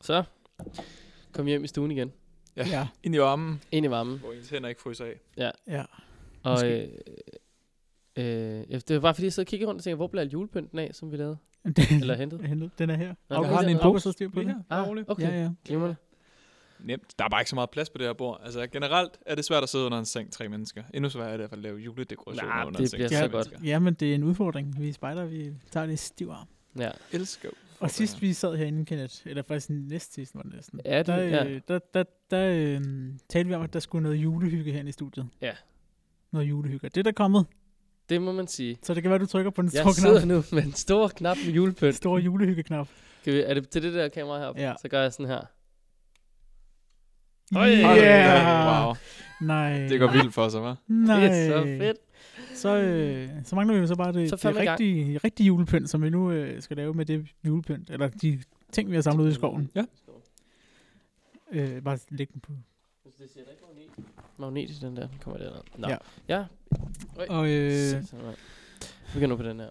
Så kom hjem i stuen igen. Ja. Ja. Ind i varmen, Ind i varmen. hvor ens hænder ikke fryser af. ja. Og Måske. øh, øh, ja, det var bare fordi, jeg sad og kiggede rundt og tænkte, hvor blev al julepynten af, som vi lavede? Eller hentet? Hentet. Den er her. Nå, Jeg den har er den i en her. pose, så styr på Lige det. her. Ah, roligt. okay. Ja, ja. Glimrende. Nemt. Der er bare ikke så meget plads på det her bord. Altså generelt er det svært at sidde under en seng tre mennesker. Endnu sværere er det i hvert fald at lave juledekorationer Nej, under det en seng bliver tre så mennesker. Ja, men det er en udfordring. Vi spejder, vi tager det i stiv arm. Ja. Jeg elsker Og sidst vi sad herinde, Kenneth, eller faktisk næst sidst var det næsten, Ja, det- der, øh, ja. der, der, der øh, talte vi om, at der skulle noget julehygge herinde i studiet. Ja. Noget julehygge. Det er der kommet, Det må man sige. så det kan være, du trykker på den Jeg store sidder knap. nu med en stor knap med Den julepynt. store julehygge-knap. Kan vi, er det til det der kamera heroppe? Ja. Så gør jeg sådan her. Øj. Yeah! Yeah. Wow, Nej. det går vildt for sig, hva'? Nej. Det er så fedt. Så, øh, så mangler vi jo så bare det, Så så det fandme i gang. rigtige, rigtige julepynt, som vi nu øh, skal lave med det julepynt, eller de ting, vi har samlet ud i skoven. Ja. Øh, bare lægge dem på. Det ser da ikke magnet. Magnet i den der. Den kommer der. Nå. Ja. Ja. ja. Og øh, Øh. Vi kan nu på den her.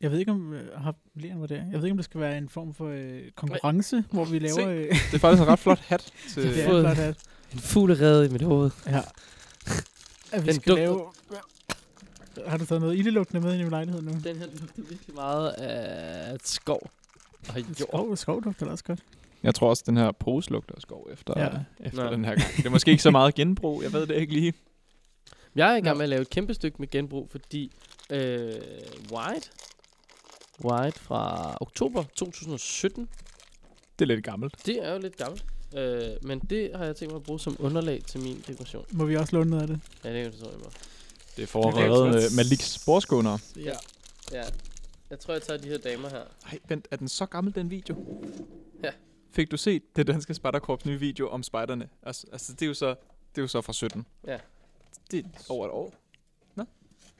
jeg ved ikke, om øh, har Leon var der. Jeg ved ikke, om det skal være en form for øh, konkurrence, hvor vi laver... Øh, Det er faktisk en ret flot hat. Til, det er Fået- flot hat. En fuglerede i mit hoved. Ja. At vi Den den skal dufter- lave... Har du taget noget ildelugtende med ind i min lejlighed nu? Den her lugter virkelig meget af skov. Og jord. Skov, skov dufter da også godt. jeg tror også, den her pose lugter af skov efter, Ja. ja. efter Nå. den her gang. Det er måske ikke så meget genbrug, jeg ved det ikke lige. Jeg er i gang Nå. med at lave et kæmpe stykke med genbrug, fordi øh, White, White fra oktober 2017, Det er lidt gammelt. det er jo lidt gammelt, øh, men det har jeg tænkt mig at bruge som underlag til min dekoration. Må vi også låne noget af det? Ja, det kan du så i mig. Det er for at Det er redde godt. øh, Maliks sporskåner. Ja. ja. Jeg tror, jeg tager de her damer her. Ej, vent, er den så gammel, den video? Ja. Fik du set det danske spejderkorps nye video om spejderne? Altså, altså det, er jo så, det er jo så fra 17. Ja. Det er over et år. Nå.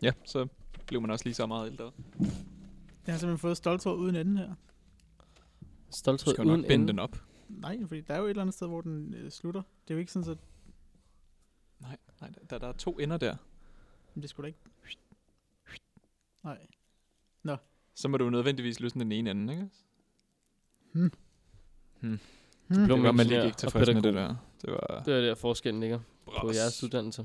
Ja, så blev man også lige så meget ældre. Jeg har simpelthen fået stoltår uden anden her. Du Stolthed skal jo uden nok binde ende. den op. Nej, fordi der er jo et eller andet sted, hvor den øh, slutter. Det er jo ikke sådan, at Nej, nej der, der er to ender der. det skulle da ikke... Nej. Så må du jo nødvendigvis løsne den ene ende, ikke? Hmm. Blå Det var man ingeniør lige ikke og tilfreds med pædagog. det der. Det var... Det er der forskellen ligger på Bras. jeres uddannelse.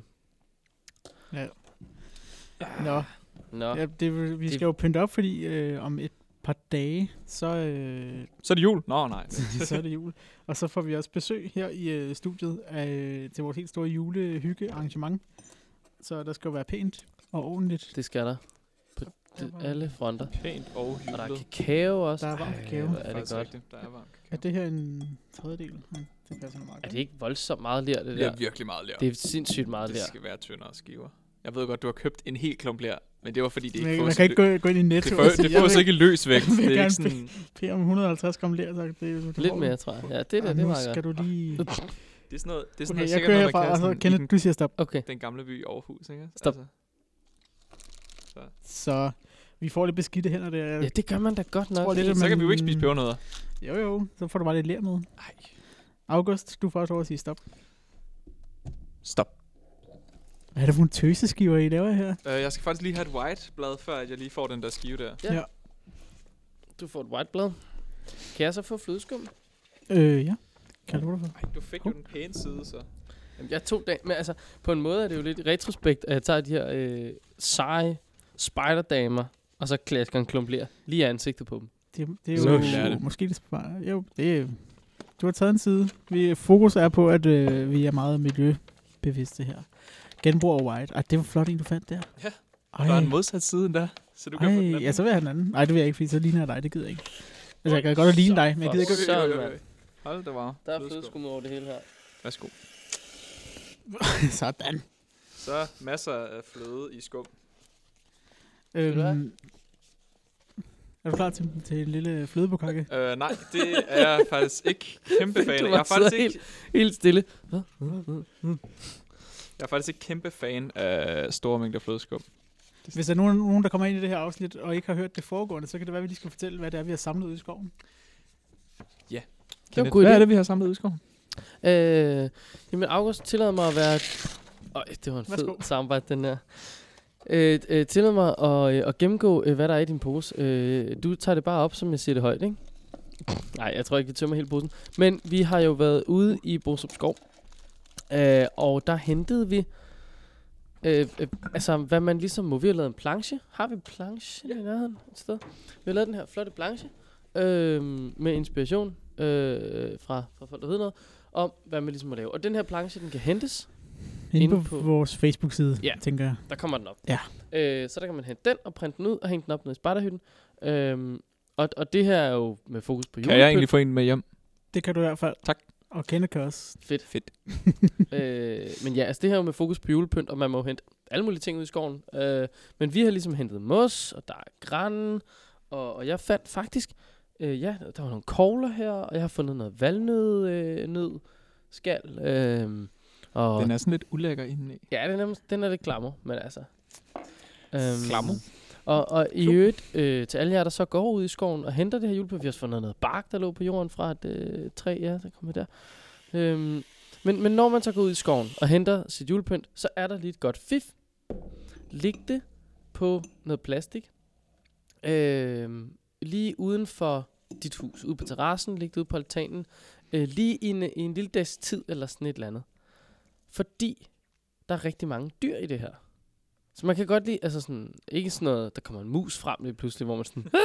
Nå, Nå, ja, det, vi Det- skal jo pynte op, fordi øh, om et par dage, så, øh, Så er det jul? Nå, nej. så er det jul. Og så får vi også besøg her i øh, studiet af, øh, til vores helt store julehygge-arrangement. Så der skal jo være pænt og ordentligt. det skal der. På de, alle fronter. Pænt og Og der er hyggeligt. kakao også. Der er varm Ej, kakao. hvor er det Faktisk godt. rigtigt, Der er varmt. Er det her en tredjedel? Ja, Det passer nok meget Er godt. det ikke voldsomt meget lær, det Det der? er virkelig meget lær. Det er sindssygt meget Det lær. skal være tyndere skiver. Jeg ved godt, du har købt en hel klump lær, men det var fordi, det man, ikke man fås kan ikke i lø- gå, gå ind i det netto og får, sige, det får så jeg ikke i løs vægt. Jeg vil Det er ikke gerne sådan, vil om 150 gram lær, så det, er jo- det får Lidt du. mere, tror jeg. Ja, det der, Ej, det nu var skal godt. du lige... det er sådan noget, det er sådan Okay, noget, jeg sikkert kører noget, man herfra, kan og så sådan i Kenneth, den, du siger stop. Okay, den gamle by i Aarhus, ikke? Stop. Altså, Så vi får lidt beskidte hænder der. ja, det gør man da godt nok. tror lidt, at så man- kan vi jo ikke spise pebernødder. Jo jo, så får du bare lidt lær med. Ej, August, du får også lov at sige stop. stop. Hvad er det for en tøseskiver, I laver her? Øh, jeg skal faktisk lige have et white blad, før at jeg lige får den der skive der. Du får et white blad. Kan jeg så få flødeskum? Øh, ja. Kan du det for? Ej, du fik jo den pæne side, så. Jamen, jeg tog dag, men altså, på en måde er det jo lidt i retrospekt, at jeg tager de her øh, seje spiderdamer, og så klasker en klump ler lige i ansigtet på dem. Det, det er Så jo vil jeg lære det. måske det sparer. Jo, det er, du har taget en side. Vi, fokus er på, at øh, vi er meget miljøbevidste her. Genbrug og white. Ej, det var flot en, du fandt der. Ja. Ej, Der er en modsat side end der, så du kan få den ej, anden. ja, så vil jeg have den anden. Nej, det vil jeg ikke, fordi så ligner jeg dig. Det gider jeg ikke. Altså, jeg kan godt at ligne dig, men jeg gider ikke. for at- Øj, øj, Søren, øj, mand. øj. Hold da var. Der er flødeskum over det hele her. Værsgo. Sådan. Så masser af fløde i skum. du hvad? Øhm, er du klar til, til en lille flødebukakke? Øh, nej, det er jeg faktisk ikke kæmpe fan af. Du Jeg var er, faktisk så ikke, Helt stille. jeg er faktisk ikke kæmpe fan af store mængder flødeskum. Hvis der er nogen, nogen, der kommer ind i det her afsnit, og ikke har hørt det foregående, så kan det være, at vi lige skal fortælle, hvad det er, vi har samlet ud i skoven. Det var en god idé. vi har samlet ud i skoven? Øh, jamen, August tillader mig at være... Øj, det var en fed Værsgo. samarbejde, den der. Øh, øh, tillader mig at, øh, at gennemgå, øh, hvad der er i din pose. Øh, du tager det bare op, som jeg siger det højt, ikke? Nej, jeg tror ikke, vi tømmer hele posen. Men vi har jo været ude i Borup Skov, øh, og der hentede vi, øh, øh, altså hvad man ligesom må. Vi har lavet en planche. Har vi en planche ja. i nærheden et sted? Vi har lavet den her flotte planche øh, med inspiration øh, fra, fra folk, der ved noget, om hvad man ligesom må lave. Og den her planche, den kan hentes Inde Inde på, på- på vores Facebook-side, Ja. ja. tænker jeg. Der kommer den op. Ja. Øh, så der kan man hente den og printe den ud og hænge den op nede i spejderhytten. Øhm, og, og det her er jo med fokus på Kan jeg julepynt. egentlig få en med hjem? Det kan du i hvert fald. Tak. Og Kenneth kan også. Fedt. Fedt. øh, men ja, altså det her er jo med fokus på julepynt, og man må jo hente alle mulige ting ud i skoven. Øh, men vi har ligesom hentet mos, og der er græn, og, og jeg fandt faktisk, øh, ja, der var nogle kogler her, og jeg har fundet noget valnød, øh, nød, skal, øh, og Den er sådan lidt ulækker indeni. Ja, den er, nærmest- den er lidt klammer, men altså... Øhm, Klammer? Og, og i Super. øvrigt, øh, til alle jer, der så går ud i skoven og henter det her julepynt, vi har også fundet noget bark, der lå på jorden fra et øh, træ, ja, der kommer der. Øhm, men, men når man så går ud i skoven og henter sit julepynt, så er der lige et godt fif. Læg det på noget plastik. Øhm, lige uden for dit hus, ude på terrassen, ligge ude på altanen, øh, lige i en, i en lille dags tid eller sådan et eller andet. Fordi der er rigtig mange dyr i det her. Så man kan godt lide, altså sådan, ikke sådan noget, der kommer en mus frem lige pludselig, hvor man sådan,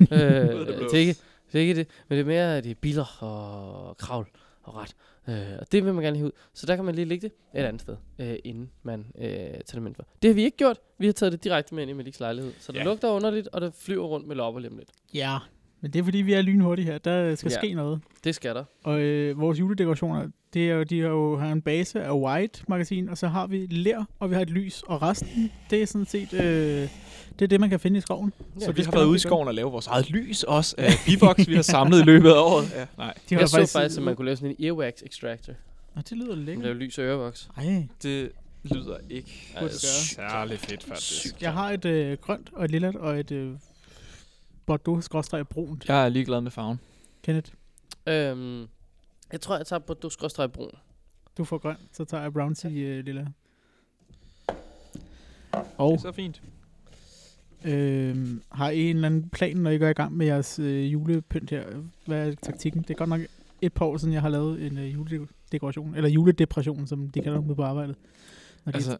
øh, det blå. det, er ikke, det er ikke det, men det er mere, at det er biler og kravl og ret. Øh, og det vil man gerne have ud. Så der kan man lige lægge det et andet sted, øh, inden man øh, tager det med indenfor. Det har vi ikke gjort. Vi har taget det direkte med ind i Maliks lejlighed. Så det Ja. lugter underligt, og det flyver rundt med lopper lidt. Ja. Men det er fordi, vi er lynhurtige her. Der skal Ja. ja. ske noget. Det skal der. Og øh, vores juledekorationer, det er jo, de har jo har en base af white magasin, og så har vi lær, og vi har et lys, og resten, det er sådan set, øh, det er det, man kan finde i skoven. Ja, Så det vi har skal været nok ude i blive skoven og lave vores eget lys også af bivoks, vi har samlet i løbet af året. Ja, nej, De jeg så faktisk, at man kunne lave sådan en earwax extractor. Nå, det lyder Man lækkert. laver lys og ørevoks. Ej. det lyder ikke Burde det gøre. særlig fedt faktisk. Jeg har et øh, grønt, og et lilla, og et øh, bordeaux-brunt. Jeg er ligeglad med farven. Kenneth, Øhm, jeg tror, jeg tager på du skråstrej brun. du får grøn, så tager jeg brown til øh, lilla. Og så fint. øh, har I en eller anden plan, når I går i gang med jeres øh, julepynt her? Hvad er taktikken? Det er godt nok et par år siden, jeg har lavet en øh, juledekoration, eller juledepression, som de kalder det på arbejdet. Når de- Altså,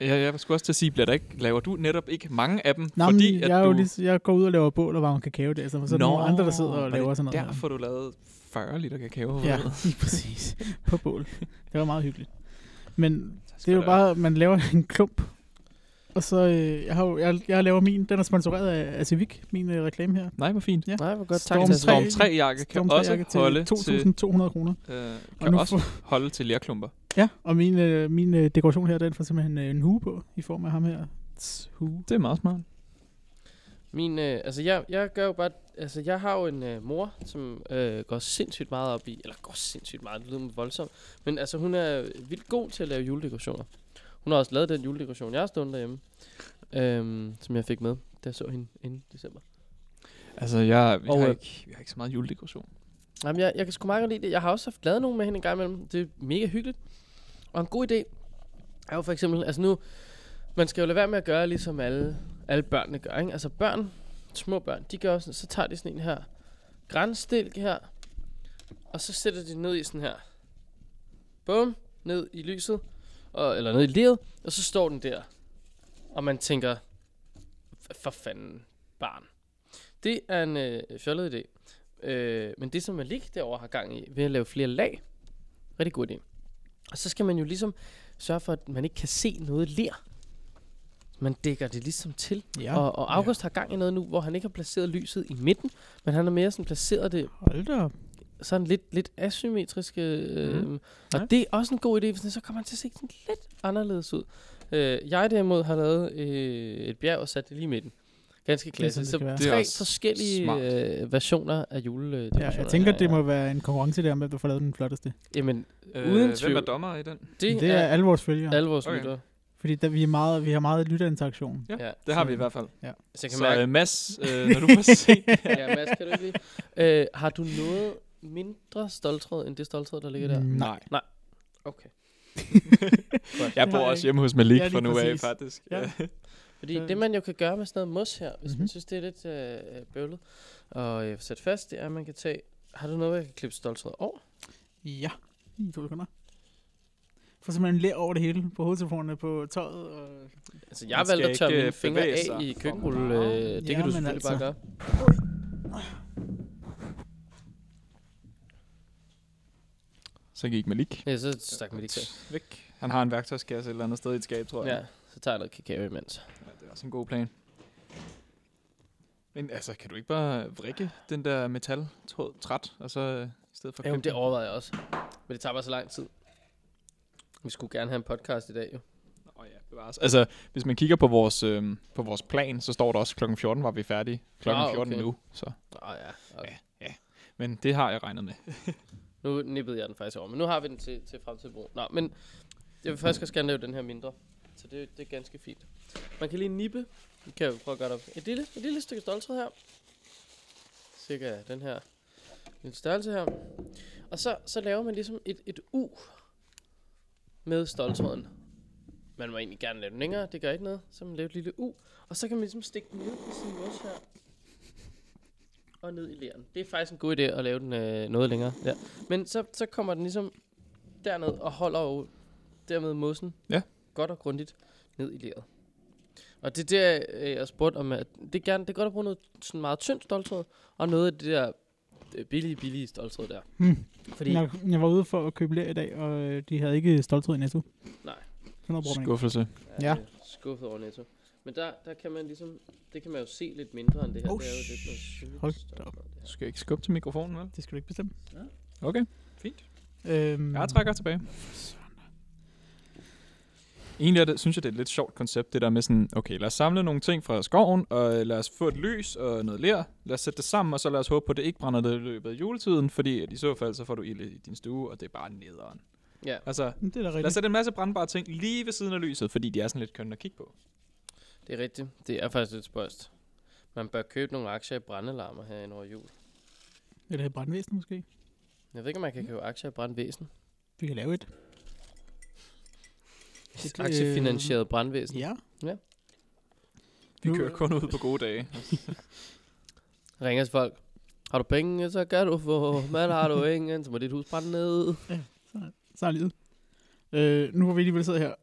jeg, jeg skulle også til at sige, bliver der ikke, laver du netop ikke mange af dem? Nå, men fordi, at jeg, er du, jo lige, jeg går ud og laver bål og varmer kakao der, så er der nogle andre, der sidder var og laver det sådan noget. her. derfor du lavede 40 liter kakao. Ja, Det lige præcis. På bål. Det var meget hyggeligt. Men det skal er jo der- bare, at man laver en klump, og så, øh, jeg, har jo, jeg, jeg laver min, den er sponsoreret af, af Civic, min øh, reklame her. Nej, hvor fint. Ja. Nej, hvor godt. Storm tak. tre. Storm. Altså, Storm 3 jakke kan Stormtrøje også jakke holde til, til 2.200 kroner. øh, Og kan nu også holde til lærklumper. Ja, og min, øh, min øh, dekoration her, den får simpelthen øh, en hue på, i form af ham her. Tss, Hue. Det er meget smart. Min, øh, altså jeg, jeg gør jo bare, altså jeg har jo en øh, mor, som øh, går sindssygt meget op i, eller går sindssygt meget, det lyder voldsomt, men altså hun er vildt god til at lave juledekorationer. Hun har også lavet den juledekoration, jeg har stående derhjemme, øhm, som jeg fik med, da jeg så hende inden december. Altså, jeg, vi, Og, har øh, ikke, vi har ikke så meget juledekoration. Jamen, jeg, jeg kan sgu meget godt lide det. Jeg har også haft lavet nogle med hende en gang imellem. Det er mega hyggeligt. Og en god idé er jo for eksempel, altså nu, man skal jo lade være med at gøre, ligesom alle, alle børnene gør, ikke? Altså børn, små børn, de gør sådan, så tager de sådan en her grænstilk her, og så sætter de den ned i sådan her. Bum, ned i lyset, og, eller ned i leret, og så står den der. Og man tænker, "F- for fanden, barn. Det er en øh, fjollet idé. Øh, men det, som Malik derovre har gang i, ved at lave flere lag, rigtig god idé. Og så skal man jo ligesom sørge for, at man ikke kan se noget ler. Man dækker det ligesom til. Ja. Og, og August ja. har gang i noget nu, hvor han ikke har placeret lyset i midten, men han har mere sådan placeret det Hold da op. sådan lidt, lidt asymmetrisk. Øh, Mhm. mm. Og Ja. det er også en god idé, for sådan- så kommer han til at se sådan lidt anderledes ud. Øh, jeg derimod har lavet øh, et bjerg og sat det lige i midten. Ganske sådan, det klassisk. Så skal tre være. Det er også forskellige smart. øh, versioner af jule. Ja, jeg tænker, det må være en konkurrence der med, at du får lavet den flotteste. Jamen, Øh, uden Hvem tvivl. er dommer i den? det, Det er alle vores følgere, alle vores okay. Okay. lyttere. fordi der, vi, er meget, vi har meget lytterinteraktion. Ja, Ja. det har vi i hvert fald. Så Altså, jeg kan Så mærke, øh, Mads, øh, når du får set... ja, Mads, kan du ikke lige? Øh, har du noget mindre stoltråd, end det stoltråd, der ligger der? Mm. Nej. Okay. Jeg bor Nej. også hjemme hos Malik Ja, ja, lige fra nu af, præcis. faktisk. Ja. Ja. Fordi Så- det, man jo kan gøre med sådan noget mos her, hvis mm-hmm. Mhm. man synes, det er lidt øh, bøvlet og øh, sætte fast, det er, at man kan tage... Har du noget, jeg kan klippe stoltråd over? Ja, i to sekunder. Får simpelthen lær over det hele, på hovedtelefonerne, på tøjet. Og... Altså, jeg Man valgte skal at tørre ikke, mine øh, fingre bevæge af sig i for køkkenrulle. Øh, meget. det Ja, kan du men selvfølgelig bare altså. gøre. Så gik Malik. Ja, så stak mig lige til. Væk. Han har en værktøjskasse et eller andet sted i et skab, tror jeg. Ja, så tager jeg noget kakao imens. Ja, det er også en god plan. Men altså, kan du ikke bare vrikke den der metaltråd træt, og så øh, i stedet for... Jo, men det klippe den? overvejede jeg også. Men det tager bare så lang tid. Vi skulle gerne have en podcast i dag, jo. Åh ja, bevares. Altså, hvis man kigger på vores, øhm, på vores plan, så står der også klokken 14 var vi færdige. Klokken Ah, okay. 14 nu, så... Åh ja. Okay. Men det har jeg regnet med. Nu nippede jeg den faktisk over, men nu har vi den til, til fremtidig brug. Nå, men jeg vil faktisk også gerne lave den her mindre. Så det, det er ganske fint. Man kan lige nippe. Nu kan jeg jo prøve at gøre det op. Et lille, et lille stykke stoltråd her. Cirka den her lille størrelse her. Og så, så laver man ligesom et, et U med stoltråden. Man må egentlig gerne lave den længere, det gør ikke noget. Så man laver et lille U, og så kan man ligesom stikke den ned i sin mos her. Og ned i leren. Det er faktisk en god idé at lave den øh, noget længere. Ja. Men så, så kommer den ligesom derned og holder jo dermed mossen Ja. godt og grundigt ned i leret. Og det er der, øh, jeg spurgte om, at det er, gerne, det er godt at bruge noget sådan meget tyndt stoltråd, og noget af det der øh, billige, billige stoltråd der. Hmm. Fordi, Jeg, jeg, var ude for at købe lær i dag, og øh, de havde ikke stoltråd i næste uge. nej, Sådan noget bruger man ikke. Skuffelse. Jeg Ja. er lidt skuffet over Netto. Men der, der kan man ligesom, det kan man jo se lidt mindre end det her. Oh, det er jo lidt noget sh- syltet hold stof da op. og det her. Du skal ikke skubbe til mikrofonen, vel? Det skal du ikke bestemme. Okay, fint. Øhm, Jeg trækker tilbage. Egentlig er det, synes jeg, det er et lidt sjovt koncept, det der med sådan, okay, lad os samle nogle ting fra skoven, og øh, lad os få et lys og noget ler. Lad os sætte det sammen, og så lad os håbe på, at det ikke brænder ned i løbet af juletiden, fordi at i så fald, så får du ild i din stue, og det er bare nederen. Ja, Altså, Det er da lad os rigtigt. sætte en masse brandbare ting lige ved siden af lyset, fordi de er sådan lidt kønne at kigge på. det er rigtigt. Det er faktisk lidt spøjst. Man bør købe nogle aktier i brandalarmer her ind over jul. Eller et brandvæsen måske. Jeg ved ikke, om man kan købe aktier i brandvæsen. Vi kan lave et. Øh, Et aktiefinansieret brandvæsen. Ja. Ja. Vi Nu- kører kun ud på gode dage. Ringer til folk. Har du penge, så kan du få. Men har du ingen, så må dit hus brænde ned. Så er livet. Øh, nu hvor vi alligevel sidder her,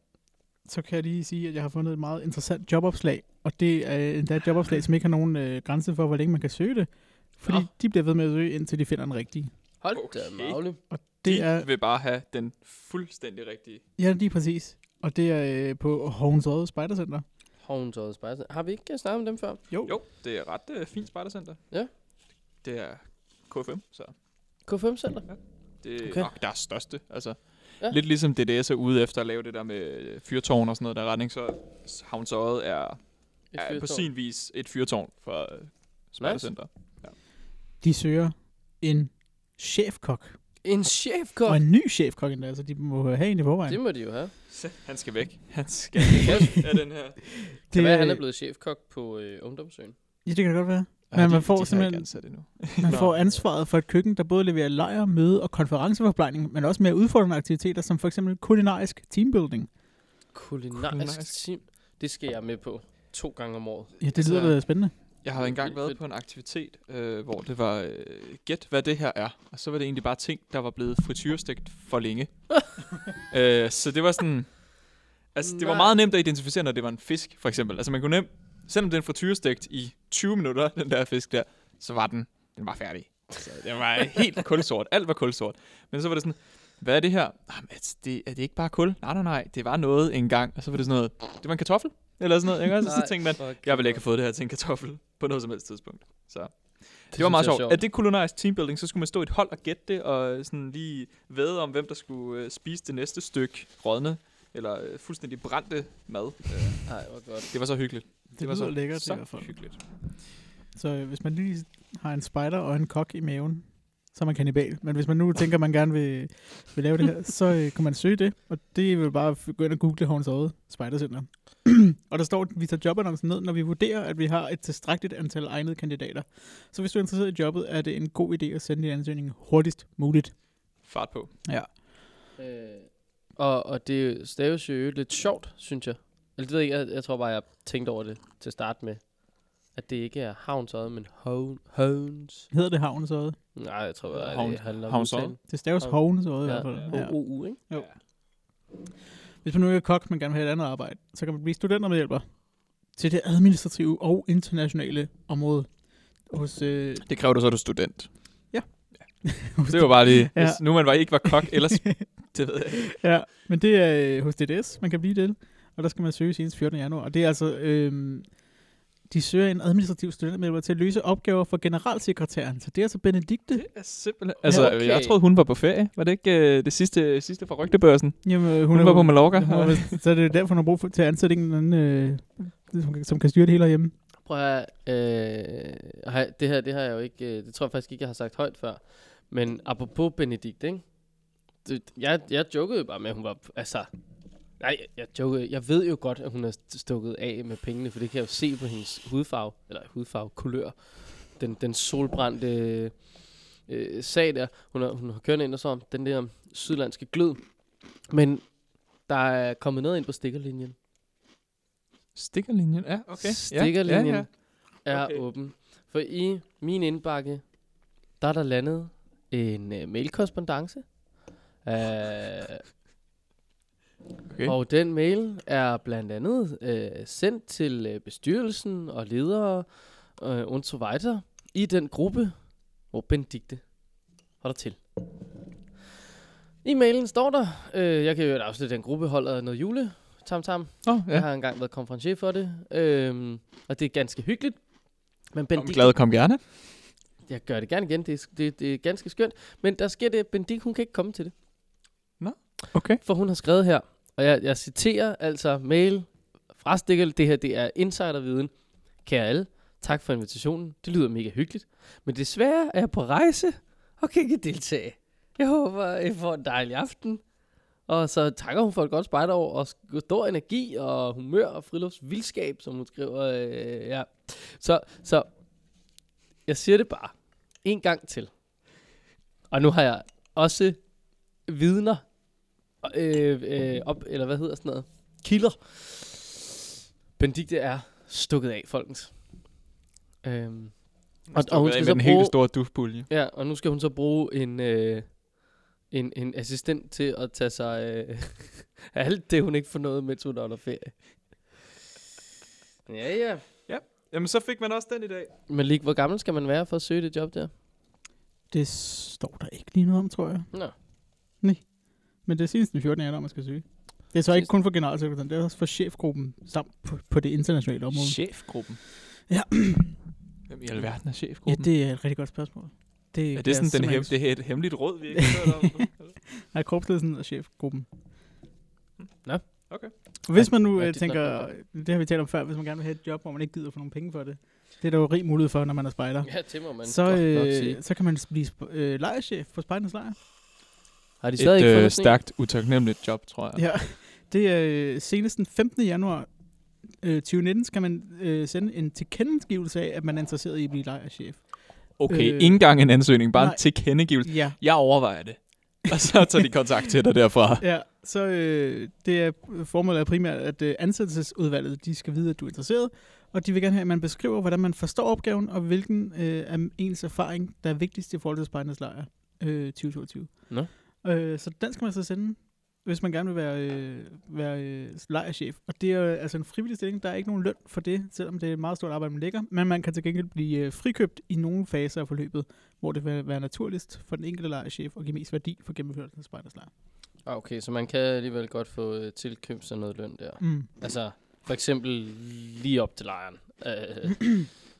så kan jeg lige sige, at jeg har fundet et meget interessant jobopslag. Og det er endda et jobopslag, som ikke har nogen øh, grænse for, hvor længe man kan søge det. Fordi Nå. Nå. de bliver ved med at søge, indtil de finder den rigtige. Hold Okay. da magle. Det de er, vil bare have den fuldstændig rigtige. ja, lige præcis. Og det er øh, på Hovens Odde Spejdercenter. Hovens Odde Spejse. Har vi ikke øh, snakket om dem før? Jo, det er ret øh, fint spejdercenter. Ja. Det er KFM, så K5 Center? det er Okay. okay. nok deres største. Altså, Ja. ja. Lidt ligesom DDS er ude efter at lave det der med øh, fyrtårn og sådan noget der retning, så Havns Øjet er, Et er på fyrtårn. sin vis et fyrtårn for øh, spejdercenter. Nice. De søger en chefkok. En chefkok. Og en ny chefkok endda, så de må have en i forvejen. Det må de jo have. Han skal væk. Han skal væk af den her. Det kan være, han er bleød chefkok på øh, Ungdomsøen. Ja, det kan det godt være. Ej, man får de, de simpelthen- ansat endnu. Man Nå. får ansvaret for et køkken, der både leverer lejr, møde og konferenceforplejning, men også mere udfordrende aktiviteter, som for eksempel kulinarisk teambuilding. Kulinarisk Kulinarisk. team. Det skal jeg med på to gange om året. Ja, det lyder Altså- da spændende. Jeg har Det er engang vildt været fedt. på en aktivitet, øh, hvor det var, øh, gæt hvad det her er. Og så var det egentlig bare ting, der var blevet frityrestegt for længe. øh, så det var sådan, altså det var Nej. meget nemt at identificere, når det var en fisk, for eksempel. Altså man kunne nemt, selvom den frityrestegt i 20 minutter, den der fisk der, så var den, den var færdig. Så den var helt kulsort, alt var kulsort. Men så var det sådan, hvad er det her? Jamen, er det, er det ikke bare kul? Nej, nej, nej, det var noget engang. Og så var det sådan noget, det var en kartoffel, eller sådan noget. Ikke? Og så, så tænkte man, jeg ville ikke have fået det her til en kartoffel på noget som helst tidspunkt. Så det, det var meget sjovt. sjovt. Er det kulinarisk teambuilding, så skulle man stå i et hold og gætte det, og øh, sådan lige væde om, hvem der skulle øh, spise det næste stykke rådne, eller øh, fuldstændig brændte mad. Øh, Nej, hvor godt. det var så hyggeligt. Det, var så, lækkert så i hvert fald. hyggeligt. Så øh, hvis man lige har en spider og en kok i maven, så er man kanibal. Men hvis man nu tænker, at man gerne vil, vil lave det her, så øh, kan man søge det. Og det vil bare f- gå ind og google Horns Odde Spejdercenter. og der står, at vi tager jobannoncen ned, når vi vurderer, at vi har et tilstrækkeligt antal egnede kandidater. Så hvis du er interesseret i jobbet, er det en god idé at sende din ansøgning hurtigst muligt. Fart på. Øh, og, og det staves jo i øvrigt lidt sjovt, synes jeg. Eller det ved jeg, ikke, jeg, jeg tror bare, jeg tænkte over det til at starte med. At det ikke er havnsøjet, men hoven, hovens. Hedder det havnens øje? Nej, jeg tror bare, Havn- det handler om havnsøjet? udtalen. Det staves Hov. hovens øje i Ja. hvert fald. Ja. O-U, ikke? Hvis man nu ikke er kok, men gerne vil have et andet arbejde, så kan man blive studentermedhjælper til det administrative og internationale område hos, øh, Det kræver du så, at du er student. hos Det var bare lige, Ja. ja. hvis nu man var ikke var kok, ellers, det ved jeg ikke. Ja, men det er øh, hos DDS, man kan blive det. Og der skal man søge senest 14. januar. Og det er altså, øh, de søger en administrativ studentermedlemmer til at løse opgaver for generalsekretæren. Så det er altså Benedikte. Det er simpelthen... Altså, okay. okay. jeg troede, hun var på ferie. Var det ikke øh, det sidste, sidste fra rygtebørsen? Jamen, øh, Hun, hun var på Mallorca. hun er vist- Så er det jo derfor, hun har brug for, til at ansætte en eller anden, øh, som, kan- som kan styre det hele hjemme. Prøv at høre, øh, har- det her, det har jeg jo ikke, øh, det tror jeg faktisk ikke, jeg har sagt højt før. Men apropos Benedikt, ikke? Det, jeg, jeg jokede jo bare med, at hun var, altså, nej, jeg, jeg jokede, jeg ved jo godt, at hun er st- stukket af med pengene, for det kan jeg jo se på hendes hudfarve, eller hudfarve, kulør, den, den solbrændte øh, sag der, hun har, hun har kørt ind og så, den der sydlandske glød. Men der er kommet noget ind på stikkerlinjen. Stikkerlinjen, ja, okay. Stikkerlinjen Ja, ja, er okay. Okay. åben. For i min indbakke, der er der landet en uh, mailkorrespondence. Uh, okay. Og den mail er blandt andet uh, sendt til uh, bestyrelsen og ledere uh, und so weiter i den gruppe, hvor Benedikte holder til. I mailen står der, øh, jeg kan jo afslutte, at den gruppe holder noget jule, tam tam, ja. Oh, Ja. Jeg har engang været konferencier for det, øhm, og det er ganske hyggeligt. Men Bendik, glad, kom gerne. jeg gør det gerne igen, det er, det, det er ganske skønt. Men der sker det, at Bendik, hun kan ikke komme til det. Okay. For hun har skrevet her, og jeg, jeg citerer altså mail fra Stikkel, det her det er insiderviden. Kære alle, tak for invitationen, det lyder mega hyggeligt. Men desværre er jeg på rejse og kan ikke deltage. Jeg håber, I får en dejlig aften. Og så takker hun for et godt spejderår, og sk- stor energi og humør og friluftsvildskab, som hun skriver. Øh, ja. så, så jeg siger det bare en gang til. Og nu har jeg også vidner, øh, øh, op, eller hvad hedder sådan noget, kilder. Benedikte er stukket af, folkens. Øhm, og Stukket hun af skal så med den helt bruge- store dufpulje. Ja, og nu skal hun så bruge en, øh, en, en assistent til at tage sig øh, af alt det, hun ikke får noget med, to under ferie. Ja, ja. Jamen, så fik man også den i dag. Men lige, hvor gammel skal man være for at søge det job der? Det står der ikke lige noget om, tror jeg. Nå. Men det er senest den 14. januar, man skal søge. Det er så ikke Sidst- kun for generalsekretæren, det er også for chefgruppen samt på, på det internationale område. Chefgruppen. Ja. Hvem i alverden er Ja, chefgruppen? det er et rigtig godt spørgsmål. Det er kan jeg det sådan den simpelthen hem, ikke- det er et hemmeligt råd, vi ikke har hørt om? Nej, korpsledelsen og chefgruppen. Nå, okay. Og Hvis man nu Ja, ja, det er tænker, klart. det har vi talt om før, hvis man gerne vil have et job, hvor man ikke gider få nogle penge for det, det er der jo rig mulighed for, når man er spejder. Ja, det må man så, godt nok sige. øh, så kan man blive sp- øh, lejerchef på spejdernes lejr. Har de stadig ikke Et øh, fundet sådan en? stærkt, utaknemmeligt job, tror jeg. Ja. Det er øh, senest den 15. januar øh, 2019, skal man øh, sende en tilkendegivelse af, at man er interesseret i at blive lejerchef. Okay, Øh, ikke engang en ansøgning, bare nej. en tilkendegivelse. Ja. Jeg overvejer det. Og så tager de kontakt til dig derfra. Ja, så øh, det er formålet er primært, at øh, ansættelsesudvalget de skal vide, at du er interesseret, og de vil gerne have, at man beskriver, hvordan man forstår opgaven, og hvilken øh, af ens erfaring, der er vigtigst i forhold til Spejdernes Lejr øh, 2022. Nå. Øh, så den skal man så sende, hvis man gerne vil være, øh, være øh, lejrchef. Og det er øh, altså en frivillig stilling, der er ikke nogen løn for det, selvom det er et meget stort arbejde, man lægger, men man kan til gengæld blive øh, frikøbt i nogle faser af forløbet, hvor det vil være naturligst for den enkelte lejrchef at give mest værdi for gennemførelsen af Spejdernes Lejr. Ah, okay, så man kan alligevel godt få øh, tilkøbt sig noget løn der. Mm. Altså, for eksempel lige op til lejren. Øh,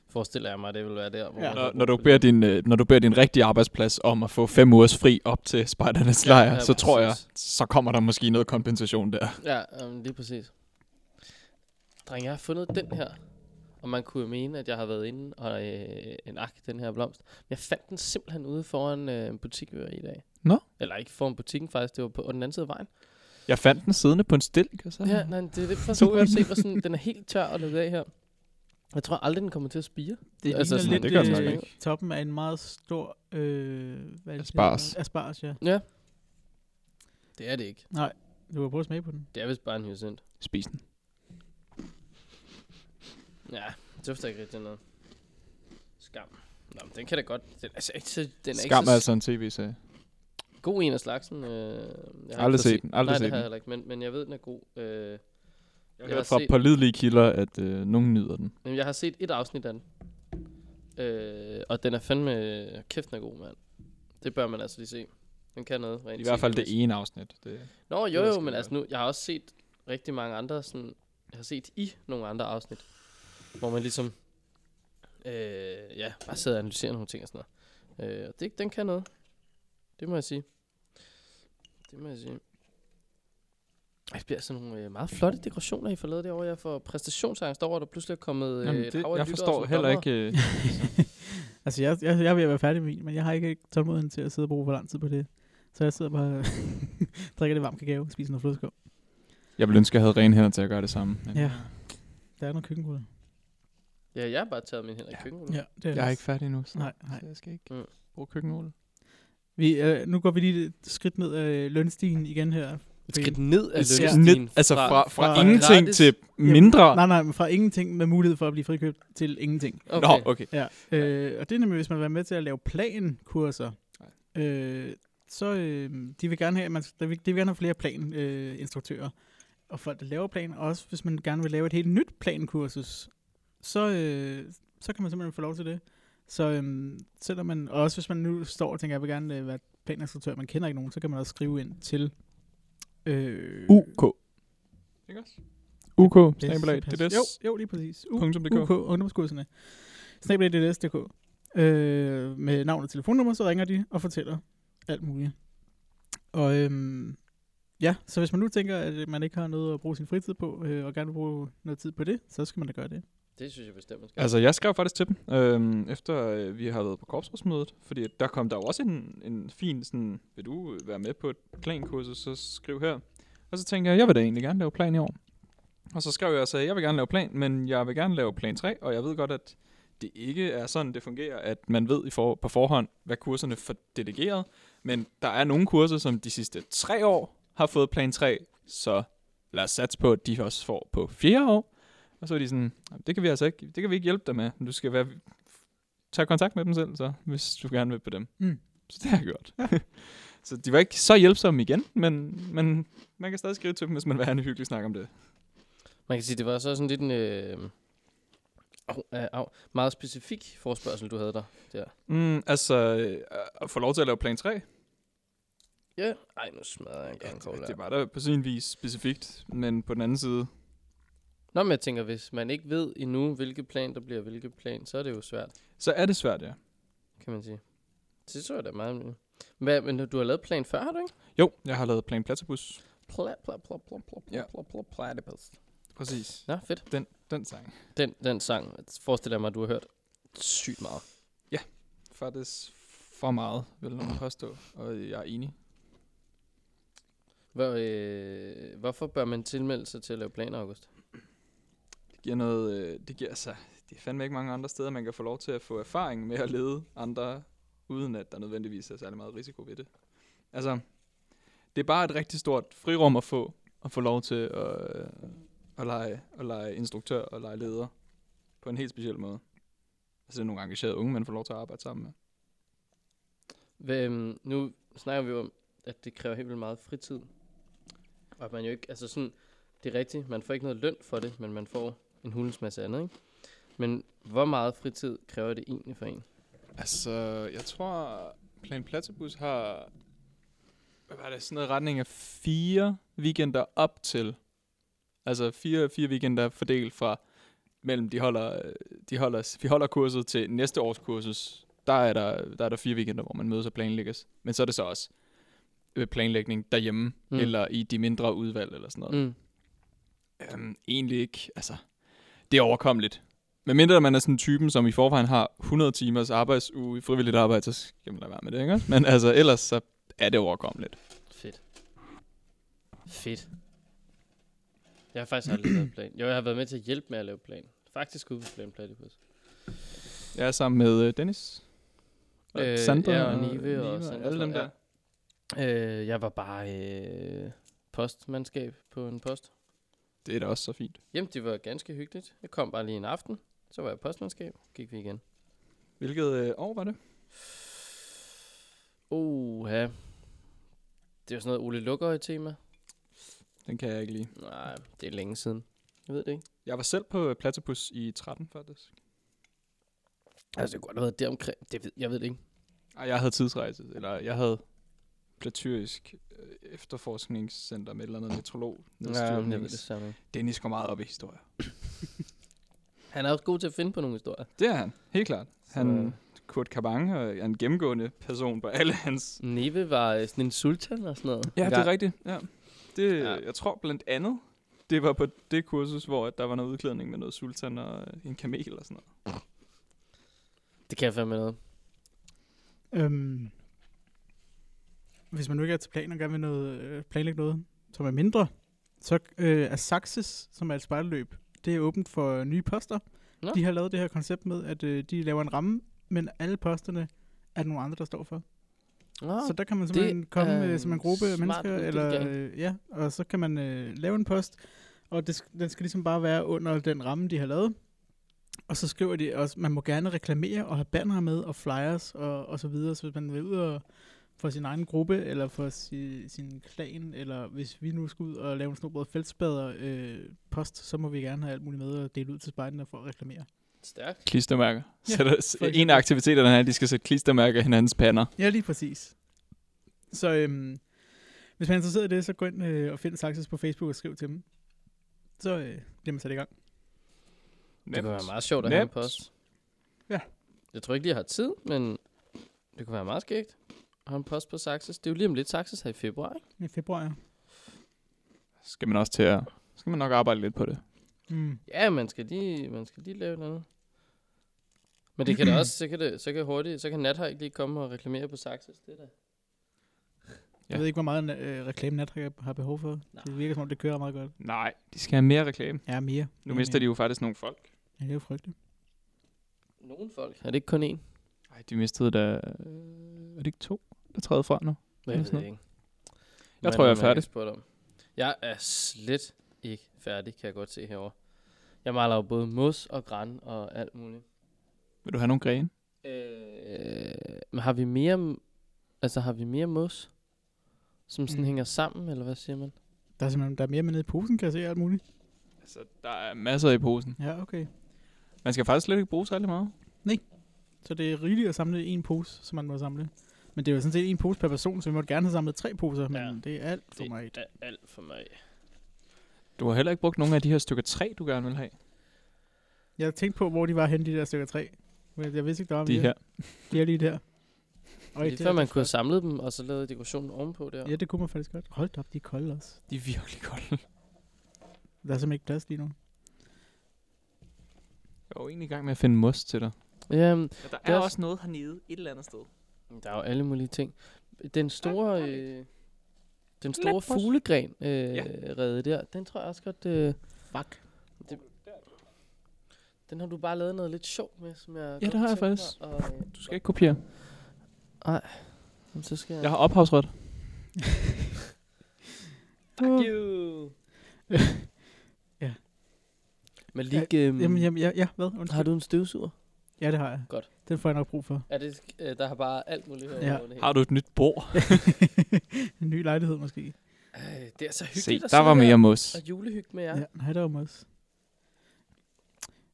forestiller jeg mig, det vil være der, hvor Ja. man Når, har når, brug du for beder det. din, øh, når du beder din rigtige arbejdsplads om at få fem ugers fri op til spejdernes Ja, lejr, ja, så tror jeg, præcis. så kommer der måske noget kompensation der. Ja, um, lige præcis. Dreng, jeg har fundet den her. Og man kunne jo mene, at jeg har været inde og øh, en ak, den her blomst. Men jeg fandt den simpelthen ude foran øh, en butik, vi var i i dag. Nå. Eller ikke foran butikken faktisk, det var på, på den anden side af vejen. Jeg fandt den siddende på en stilk, og så... Ja, nej, det er det, for så kan jeg se, hvor sådan, den er helt tør og lukket af her. Jeg tror aldrig, den kommer til at spire. Det Altså, altså, ligner sådan, lidt det det gør den øh, nok ikke. ikke. toppen af en meget stor... Øh, hvad er det, Asparges. det hedder? Asparges, ja. Ja. Det er det ikke. Du kan prøve at smage på den. Det er vist bare en hyacint. Spis den. Ja, det dufter ikke rigtig noget. Skam. Nå, men den kan da godt. Den, altså, ikke så, den er Skam ikke er så altså en tv-serie. god en af slagsen. Øh, jeg har Aldrig ikke fået set den, aldrig Nej, set det har den. jeg heller ikke, men, men jeg ved, den er god. Øh, Jeg Jeg har har fra set- pålidelige kilder, at øh, nogen nyder den. men jeg har set et afsnit af den. Øh, og den er fandme... Kæft, den er god, mand. Det bør man altså lige se. Den kan noget rent I hvert fald det tv-mæssigt. ene afsnit. Det. Nå, Det jo, er jo, sgu men godt. altså nu, jeg har også set rigtig mange andre, sådan, jeg har set i nogle andre afsnit, hvor man ligesom, øh, ja, bare sidder og analyserer nogle ting og sådan noget. Øh, og det, den kan noget. Det må jeg sige. Det må jeg sige. Ej, det bliver sådan nogle øh, meget flotte dekorationer, I får lavet derovre. Jeg får præstationsangst over, at der pludselig er kommet øh, Jamen, et det hav af lyttere jeg forstår som heller dommere. ikke... Øh, Altså, jeg, jeg, jeg er ved at være færdig med min, men jeg har ikke tålmodigheden til at sidde og bruge for lang tid på det. Så jeg sidder bare og drikker lidt varm kakao og spiser noget flødeskov. jeg ville ønske, jeg havde rene hænder til at gøre det samme. Men øh, Ja. Der er noget køkkenrulle. Ja, jeg har bare taget min hænder i køkkenet. Ja. det er Jeg er ikke færdig endnu, så, Nej, så nej. jeg skal ikke Mm. bruge køkkenrulle. Vi, øh, nu går vi lige et skridt ned ad øh, lønstigen igen her. Et skridt ned af Ja. lønstigen. Altså fra, fra, fra, fra ingenting gratis- til mindre... Nej, nej, men fra ingenting med mulighed for at blive frikøbt til ingenting. Okay. Nå, okay. Ja. Øh, og det er nemlig, hvis man vil være med til at lave plankurser, øh, så øh, de vil gerne have, at man, de vil, de vil gerne have flere planinstruktører øh, instruktører og folk, der laver plan. Og også hvis man gerne vil lave et helt nyt plankursus, så, øh, så kan man simpelthen få lov til det. Så øh, selvom man, og også hvis man nu står og tænker, jeg vil gerne øh, være planinstruktør, man kender ikke nogen, så kan man også skrive ind til... Øh, UK. Ikke også? UK, Det er snabelag, så pas. dbs. Jo, jo, lige præcis. U- Punktum DK. UK, ungdomskurserne. Snabelag DDS.dk. Øh, med navn og telefonnummer, så ringer de og fortæller alt muligt. Og øhm, ja, så hvis man nu tænker, at øh, man ikke har noget at bruge sin fritid på, øh, og gerne vil bruge noget tid på det, så skal man da gøre det. Det synes jeg bestemt, man skal. Altså, jeg skrev faktisk til dem, øhm, efter øh, vi har været på korpsrådsmødet, fordi at der kom der jo også en, en fin sådan, vil du øh, være med på et plankursus, så skriv her. Og så tænkte jeg, jeg vil da egentlig gerne lave plan i år. Og så skrev jeg og sagde, jeg vil gerne lave plan, men jeg vil gerne lave plan 3, og jeg ved godt, at det ikke er sådan, det fungerer, at man ved i for, på forhånd, hvad kurserne for delegeret, men der er nogle kurser, som de sidste tre år har fået plan 3, så lad os satse på, at de også får på fjerde år. Og så er de sådan, "Jamen, det kan vi altså ikke, det kan vi ikke hjælpe dig med. Du skal være, tage kontakt med dem selv, så, hvis du gerne vil på dem. Mm. Så det har jeg gjort. så de var ikke så hjælpsomme igen, men, men man kan stadig skrive til dem, hvis man vil have en hyggelig snak om det. Man kan sige, det var så sådan lidt en øh, au, øh, au, meget specifik forspørgsel, du havde der. der. Mm, altså, øh, at få lov til at lave plan 3, Ja, ej, nu smadrer jeg en gang cola. Altså, det var da på sin vis specifikt, men på den anden side, Nå, men jeg tænker, hvis man ikke ved endnu, hvilke plan der bliver hvilke plan, så er det jo svært, så er det svært, ja. kan man sige. Det tror jeg da meget. men- Hvad, men du har lavet plan før, har du ikke? Jo, jeg har lavet plan platypus. Pla, pla, pla, pla, pla, Ja. pla, pla, pla, platypus. Præcis. Nå, fedt. Den, den sang. Den, den sang, forestiller jeg mig, du har hørt sygt meget. Faktisk for meget, vil nogen påstå, og jeg er enig. Hvor, øh, hvorfor bør man tilmelde sig til at lave planer, August? Det giver noget, øh, det giver altså, det er fandme ikke mange andre steder, man kan få lov til at få erfaring med at lede andre, uden at der nødvendigvis er særlig meget risiko ved det. Altså, det er bare et rigtig stort frirum at få, at få lov til at, øh, at, lege, at lege instruktør og lege leder på en helt speciel måde. Altså, det er nogle engagerede unge, man får lov til at arbejde sammen med. Hvem, øhm, nu snakker vi jo om, at det kræver helt vildt meget fritid. Og at man jo ikke, altså sådan, det er rigtigt, man får ikke noget løn for det, men man får en hulens masse andet, ikke? Men hvor meget fritid kræver det egentlig for en? Altså, jeg tror, Plan Platypus har, hvad var det, sådan noget i retning af fire weekender op til. Altså fire, fire weekender fordelt fra, mellem de holder, øh, de holder, vi holder kurset til næste års kursus. Der er der, der er der fire weekender, hvor man mødes og planlægges. Men så er det så også øh, planlægning derhjemme, mm. Mm. eller i de mindre udvalg eller sådan noget. Mm. Øhm, egentlig ikke. Altså, det er overkommeligt. Men mindre man er sådan en typen, som i forvejen har 100 timers arbejdsuge i frivilligt arbejde, så skal man lade være med det, ikke? også? Men altså, ellers så er det overkommeligt. Fedt. Fedt. Jeg har faktisk aldrig lavet plan. Jo, jeg har været med til at hjælpe med at lave plan. Faktisk ude på Plan Platypus. Jeg er sammen med øh, Dennis. Og Øh, Sandra ja, og Nive og Sandra, alle dem tror der. jeg. Øh, jeg var bare øh, postmandskab på en post. Det er da også så fint. Jamen, det var ganske hyggeligt. Jeg kom bare lige en aften. Så var jeg i postmandskab. Gik vi igen. Hvilket øh, år var det? Oha. Det er jo sådan noget Ole Lukkøje tema. Den kan jeg ikke lide. Nej, det er længe siden. Jeg ved det ikke. Jeg var selv på øh, Platypus i 13, faktisk. Altså, det kunne godt have været deromkring. Det ved, jeg ved det ikke. Ej, jeg havde tidsrejse, eller jeg havde platyrisk øh, efterforskningscenter med et eller andet metrolog. men jeg ved nedstyrtnings- det samme. ikke. Dennis går meget op i historier. Han er også god til at finde på nogle historier. Det er han, helt klart. Han, Kurt Kabang er en gennemgående person på alle hans... Neve var øh, sådan en sultan og sådan noget. Ja, det er engang. rigtigt. Ja. Det, Ja. ja. Jeg tror blandt andet, det var på det kursus, hvor at der var noget udklædning med noget sultan og øh, en kamel og sådan noget. Det kan jeg fandme noget. Øhm, hvis man nu ikke er til plan og gerne vil noget, øh, planlægge noget, som er mindre, så øh, er Saxes, som er et spejlløb, det er åbent for nye poster. Nå. Nå. De har lavet det her koncept med, at øh, de laver en ramme, men alle posterne er der nogle andre, der står for. Nå, Så der kan man simpelthen det, komme er øh, som en gruppe af smart mennesker, eller, uddelegering. øh, ja, og så kan man øh, lave en post, og det, sk- den skal ligesom bare være under den ramme, de har lavet. Og så skriver de også, man må gerne reklamere og have banner med og flyers og, og så videre, så hvis man vil ud og for sin egen gruppe, eller for si, sin klan, eller hvis vi nu skal ud og lave en snobrød feltspader øh, post, så må vi gerne have alt muligt med og dele ud til spejderne for at reklamere. stærkt. Klistermærker. Ja, Ja, for der, en eksempel. af aktiviteterne er, at de skal sætte klistermærker i hinandens pander. Ja, lige præcis. Så øhm, hvis man er interesseret i det, så gå ind øh, og find Saxes på Facebook og skriv til dem. Så øh, bliver man sat i gang. Det kunne være meget sjovt at have en Nemt. post. Ja. Jeg tror ikke, de har tid, men det kunne være meget skægt. Har en post på Saxes. Det er jo lige om lidt Saxes her i februar, ikke? I februar, ja. Skal man også til at... Skal man nok arbejde lidt på det. Mm. Ja, man skal lige, man skal lige lave noget. Men det kan da også, så kan, det, så kan hurtigt, så kan Nathøj lige komme og reklamere på Saxes. Det er da. Jeg Ja. ved ikke, hvor meget øh, reklame Natrik har behov for. Nej. Det virker som om, det kører meget godt. Nej, de skal have mere reklame. Ja, mere. øh, Nu mister de jo faktisk nogle folk. Ja, det er jo frygteligt. Nogle folk. Er det ikke kun én? Nej, de mistede da... øh, Er det ikke to, der træder fra nu? Jeg Eller ved sådan det noget. ikke. Jeg tror, jeg er Hvad man færdig. ikke spurgt om. Jeg er slet ikke færdig, kan jeg godt se herover. Jeg maler jo både mos og græn og alt muligt. Vil du have nogle grene? Øh, men har vi mere, altså har vi mere mos, som sådan mm. Mm. hænger sammen, eller hvad siger man? Der er simpelthen der er mere med nede i posen, kan jeg se alt muligt. Altså, der er masser i posen. Ja, okay. Man skal faktisk slet ikke bruge særlig meget. Så det er rigeligt at samle en pose, som man må samle. Men det er jo sådan set en pose per person, så vi måtte gerne have samlet tre poser, ja. Ja. men det er alt for meget. Det er alt for mig. Du har heller ikke brugt nogen af de her stykker træ, du gerne vil have. Jeg tænkte på, hvor de var henne, de der stykker tre. Men jeg vidste ikke, der var De mere. her. De er lige der. Og Det er før man kunne have samlet dem, og så lavet dekorationen ovenpå der. Ja, det kunne man faktisk godt. Hold da op, de er kolde også. De er virkelig kolde. Der er simpelthen ikke plads lige nu. Jeg var egentlig i gang med at finde mos til dig. Jamen, Ja, der er også- noget hernede et eller andet sted. der er jo alle mulige ting. Den store, øh, den store fuglegren øh, ja. redde der, den tror jeg også godt, øh, Fuck. den har du bare lavet noget lidt sjovt med, som jeg Ja, godt det har jeg tænker mig, faktisk. Og, øh, Du skal ikke kopiere. jamen, øh, så skal jeg. Jeg har ophavsret. Fuck you. Ja. Men lige, øh, Jamen, jamen, ja, ja hvad? Undskyld. har du en støvsuger? Ja, det har jeg. Godt. Den får jeg nok brug for. Er det, øh, der har bare alt muligt herovre. Ja. over det hele. Har du et nyt bord? en ny lejlighed måske. Ej, det er så hyggeligt Se, at der sidde var her mere mos. Og julehygge med jer. Ja, Ja. ja nej, der er jo også.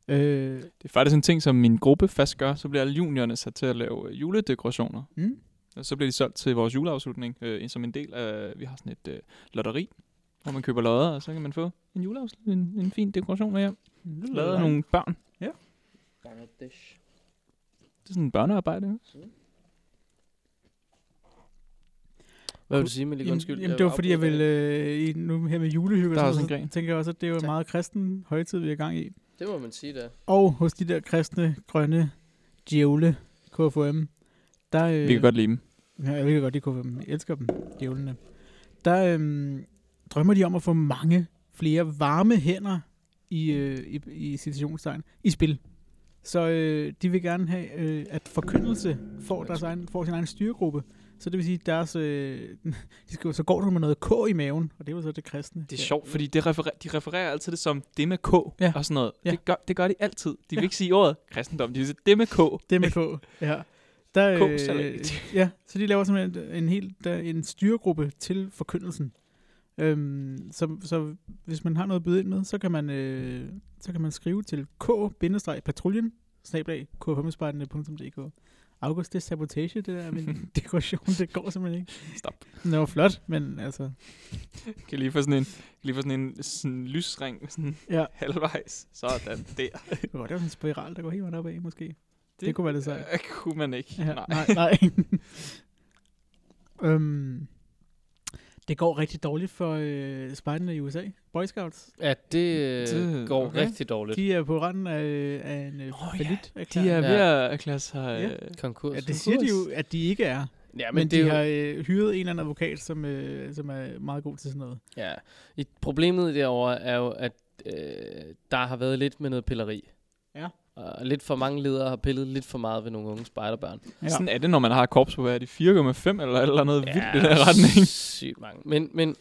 Øh, Det er faktisk en ting, som min gruppe fast gør. Så bliver alle juniorerne sat til at lave øh, juledekorationer. mm? Og så bliver de solgt til vores juleafslutning, øh, som en del af, vi har sådan et øh, lotteri, hvor man køber lodder, og så kan man få en juleafslutning, en, en fin dekoration med hjem. Lavet af nogle børn. Bangladesh. Det er sådan en børnearbejde. ikke? Hvad vil du sige, Malik? Jamen, Undskyld. jamen, det var fordi, jeg afbrudt ville øh, i- nu her med julehygge, Der er og også sådan, en noget, gren. så tænker jeg også, at det er jo en Tak. meget kristen højtid, vi er i gang i. dig. Det må man sige, der. Og hos de der kristne, grønne, djævle, KFM, der... Øh, Vi kan godt lide dem. Ja, jeg ved godt, de kunne dem. Jeg elsker dem, djævlene. Der øhm, drømmer de om at få mange flere varme hænder i, øh, i, i situationstegn i spil. Så øh, de vil gerne have, øh, at forkyndelse får, deres egen, får sin egen styregruppe. Så det vil sige, deres, øh, de skriver, så går du med noget K i maven, og det er jo så det kristne. Det er Ja. sjovt, fordi det referer, de refererer altid det som det med K Ja. ja. og sådan noget. Ja. Ja. Det, gør, det gør de altid. De vil Ja. ja. ikke sige ordet kristendom, de vil sige det med K. Det med K, ja. Der, øh, K-salat. ja, så de laver simpelthen en hel der, en styregruppe til forkyndelsen. Øhm, så, så hvis man har noget at byde ind med, så kan man, øh, så kan man skrive til k-patruljen, snablag, kfmspartene.dk. August, det er sabotage, det der, men dekoration, det går simpelthen ikke. Stop. Det var flot, men altså, Kan jeg lige få sådan en, kan jeg lige få sådan en sådan lysring sådan Ja. ja. halvvejs. Sådan der. det var godt, det var sådan en spiral, der går helt vejen opad, måske. Det, det Det- kunne være lidt sejt. Øh, kunne man ikke. Ja, Ja. nej, Nej. nej. øhm, det går rigtig dårligt for øh, spejderne i USA. Boy Scouts. Ja, det, øh, Det- går okay. rigtig dårligt. De er på randen af, af en øh, Nå oh, ja, falit. De er Ja. ved at erklære sig... Ja. Ja. Øh, Konkurs. ja, det siger de jo, at de ikke er. Ja, Men, men de har øh, hyret en eller anden advokat, som, øh, som er meget god til sådan noget. Ja, I, problemet derovre er jo, at øh, der har været lidt med noget pilleri. Ja. Og lidt for mange ledere har pillet lidt for meget ved nogle unge spejderbørn. Ja. Sådan er det, når man har korps på, hvad er det, 4,5 eller et eller andet ja. vildt i den her Ja, retning? Sygt mange. Men, men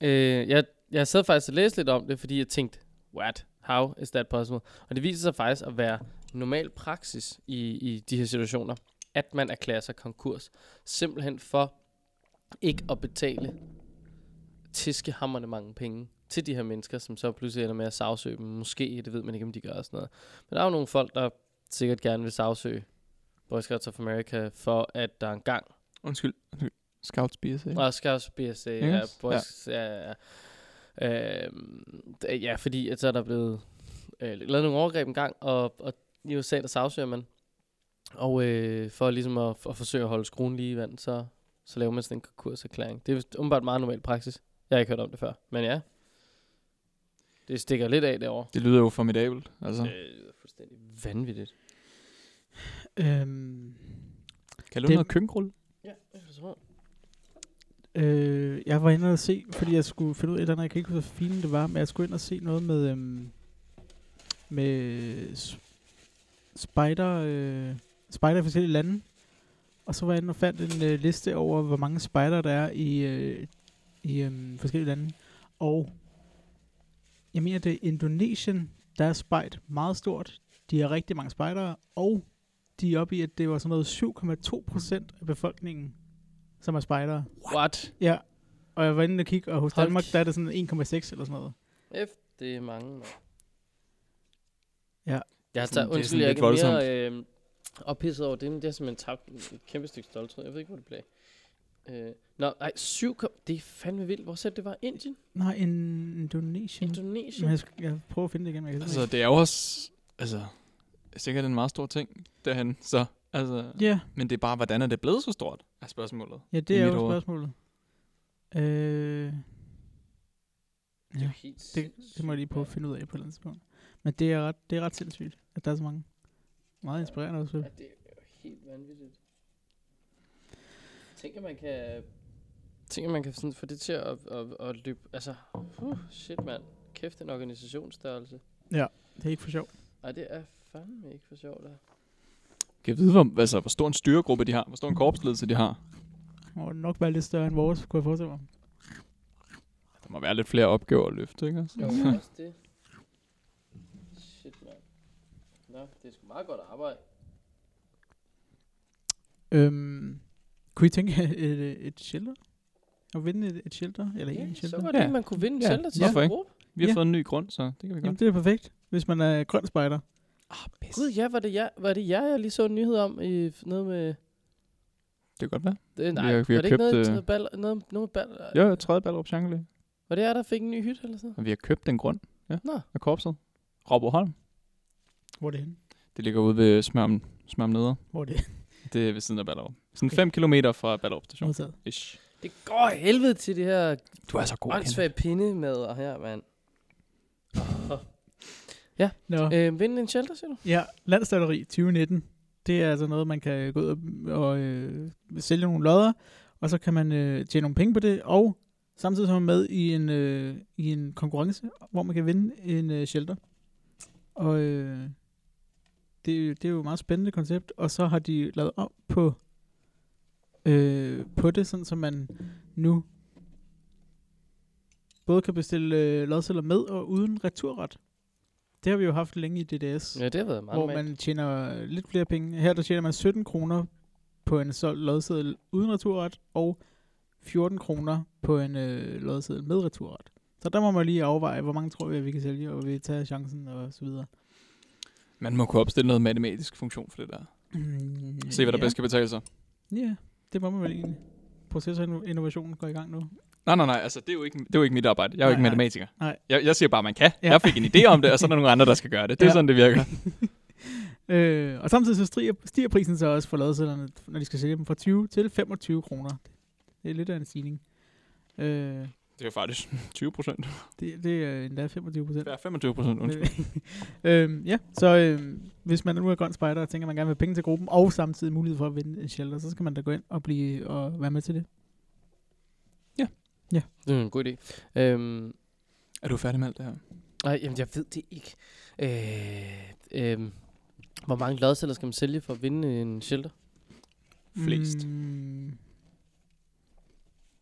øh, jeg, jeg sad faktisk og læste lidt om det, fordi jeg tænkte, what? How is that possible? Og det viser sig faktisk at være normal praksis i, i de her situationer, at man erklærer sig konkurs. Simpelthen for ikke at betale tiskehammerne mange penge til de her mennesker, som så pludselig ender med at sagsøge dem. Måske, det ved man ikke, om de gør og sådan noget. Men der er jo nogle folk, der sikkert gerne vil sagsøge Boy Scouts of America, for at der engang Undskyld. Undskyld. Scouts BSA. og skal også BSA, ja, Yes, boys, ja. Ja, ja. Øhm, d- ja, fordi at så er der blevet øh, lavet nogle overgreb en gang, og, og i USA, der sagsøger man. Og øh, for ligesom at, at forsøge at holde skruen lige i vand, så, så laver man sådan en konkurserklæring. Det er vist åbenbart meget normal praksis. Jeg har ikke hørt om det før, men ja. Det stikker lidt af derovre. Det lyder jo formidabelt. Altså, Øh, det er fuldstændig vanvittigt. Øhm, kan du det- noget køkkenrulle? Ja, jeg tror. øh, jeg var inde og se, fordi jeg skulle finde ud af et eller andet, jeg kan ikke huske, hvor fint det var, men jeg skulle ind og se noget med, øhm, med s- spider, øh, spider i forskellige lande. Og så var jeg inde og fandt en øh, liste over, hvor mange spider der er i, øh, i øh, forskellige lande. Og jeg mener, det er Indonesien, der er spejt meget stort. De har rigtig mange spejdere, og de er oppe i, at det var sådan noget 7,2 procent af befolkningen, som er spejdere. What? Ja, og jeg var inde og kigge, og hos Hold Danmark, kæ- der er det sådan 1,6 eller sådan noget. F, det er mange. mand. Ja. Jeg Det er sådan- tager, det er undskyld, sådan jeg lidt ikke er mere øh, oppisset over det, men det har simpelthen tabt et kæmpe stykke stolthed. Jeg ved ikke, hvor det blev. Øh, nå, nej, syv kom. Det er fandme vildt. Hvor sagde du, det var? Indien? Nej, in- Indonesien. Men Indonesien? jeg, skal, jeg prøver at finde det igen, men jeg kan Altså, altså, det er jo også... Altså, sikkert en meget stor ting derhen. Så, altså, Ja, Men det er bare, hvordan er det blevet så stort, er spørgsmålet. ja, I det er jo mit hoved. spørgsmålet. Øh, Det er jo ja, helt det, det må jeg lige prøve at sindssygt, finde ud af på et eller andet tidspunkt. Men det er ret, det er ret sindssygt, at der er så mange. Meget inspirerende også. mand. vel? Ja, det er jo helt vanvittigt. Tænk, at man kan... Tænk, at man kan sådan få det til at, at, at løbe... Altså, uh, shit, mand. Kæft, en organisationsstørrelse. Det er ikke for sjov. Nej, det er fandme ikke for sjovt, der. Kan jeg vide, hvor, altså, hvor stor en styregruppe de har? Hvor stor en korpsledelse de har? Og nok være lidt større end vores, kunne jeg forestille mig. Der må være lidt flere opgaver at løfte, ikke? Altså. Jo, også det. Shit, mand. Nå, det er sgu meget godt arbejde. Øhm, kunne I tænke jer et, øh, et shelter? At vinde et, et shelter? Eller en så shelter? var det, Ja. man kunne vinde Ja, selv til hvorfor sin ikke? gruppe. Vi har Ja. fået en ny grund, så det kan vi Jamen, godt. det er perfekt, hvis man er grøn spejder. Gud, ja, var det jeg, var det jeg, jeg lige så en nyhed om i f- noget med... Det kan godt være. Det, nej, har- vi var har det ikke købt, noget, øh, noget, ball, noget, noget ball, Jo, jo, tredje Ballerup Chancellé. Var det jeg, der fik en ny hytte eller sådan Og vi har købt den grund ja, Nå. af korpset. Robberholm. Hvor er det henne? Det ligger ude ved Smørm, Smørm Neder. Hvor er det henne? Det er ved siden af Ballerup. Sådan Okay. 5 kilometer fra Ballerup station. Modtaget. Ish. Det går af helvede til det her Du er så god, åndssvage pindemadder her, mand. Nå. Øh, vinde en shelter, siger du? Ja, landstøtteri 2019. Det er altså noget, man kan gå ud og, og øh, sælge nogle lodder, og så kan man øh, tjene nogle penge på det, og samtidig så er man med i en, øh, i en konkurrence, hvor man kan vinde en øh, shelter. Og øh, det, det er jo et meget spændende koncept, og så har de lavet om på, øh, på det, sådan så man nu både kan bestille øh, lodceller med og uden returret. Det har vi jo haft længe i DDS, Ja, det har været meget hvor man tjener lidt flere penge. Her der tjener man 17 kroner på en solgt lodseddel uden returret, og 14 kroner på en øh, lodseddel med returret. Så der må man lige afveje, hvor mange tror vi, at vi kan sælge, og vi tager chancen og så videre. Man må kunne opstille noget matematisk funktion for det der. Mm, Se, hvad der ja. bedst kan betale sig. Ja, det må man vel egentlig. Proces og inno- innovation går i gang nu. Nej, nej, nej, altså det er jo ikke, det er jo ikke mit arbejde. Jeg er jo Nej, ikke nej. matematiker. Nej. Jeg, jeg siger bare, man kan. Ja. Ja. Jeg fik en idé om det, og så er der nogle andre, der skal gøre det. Det er Ja. ja. sådan, det virker. Øh, og samtidig så stiger, stiger prisen så også for ladsætterne, når de skal sælge dem fra 20 til 25 kroner. Det er lidt af en stigning. Øh, Det er faktisk 20 procent. det, det er endda 25 procent. Det er 25 procent, undskyld. øhm, ja, så øhm, hvis man nu er grøn spejder og tænker, at man gerne vil have penge til gruppen, og samtidig mulighed for at vinde en shelter, så skal man da gå ind og, blive, og være med til det. Det er en god idé. Øhm, Er du færdig med alt det her? nej, jamen, jeg ved det ikke. Øh, øhm, hvor mange lodceller skal man sælge for at vinde en shelter? Flest. Mm,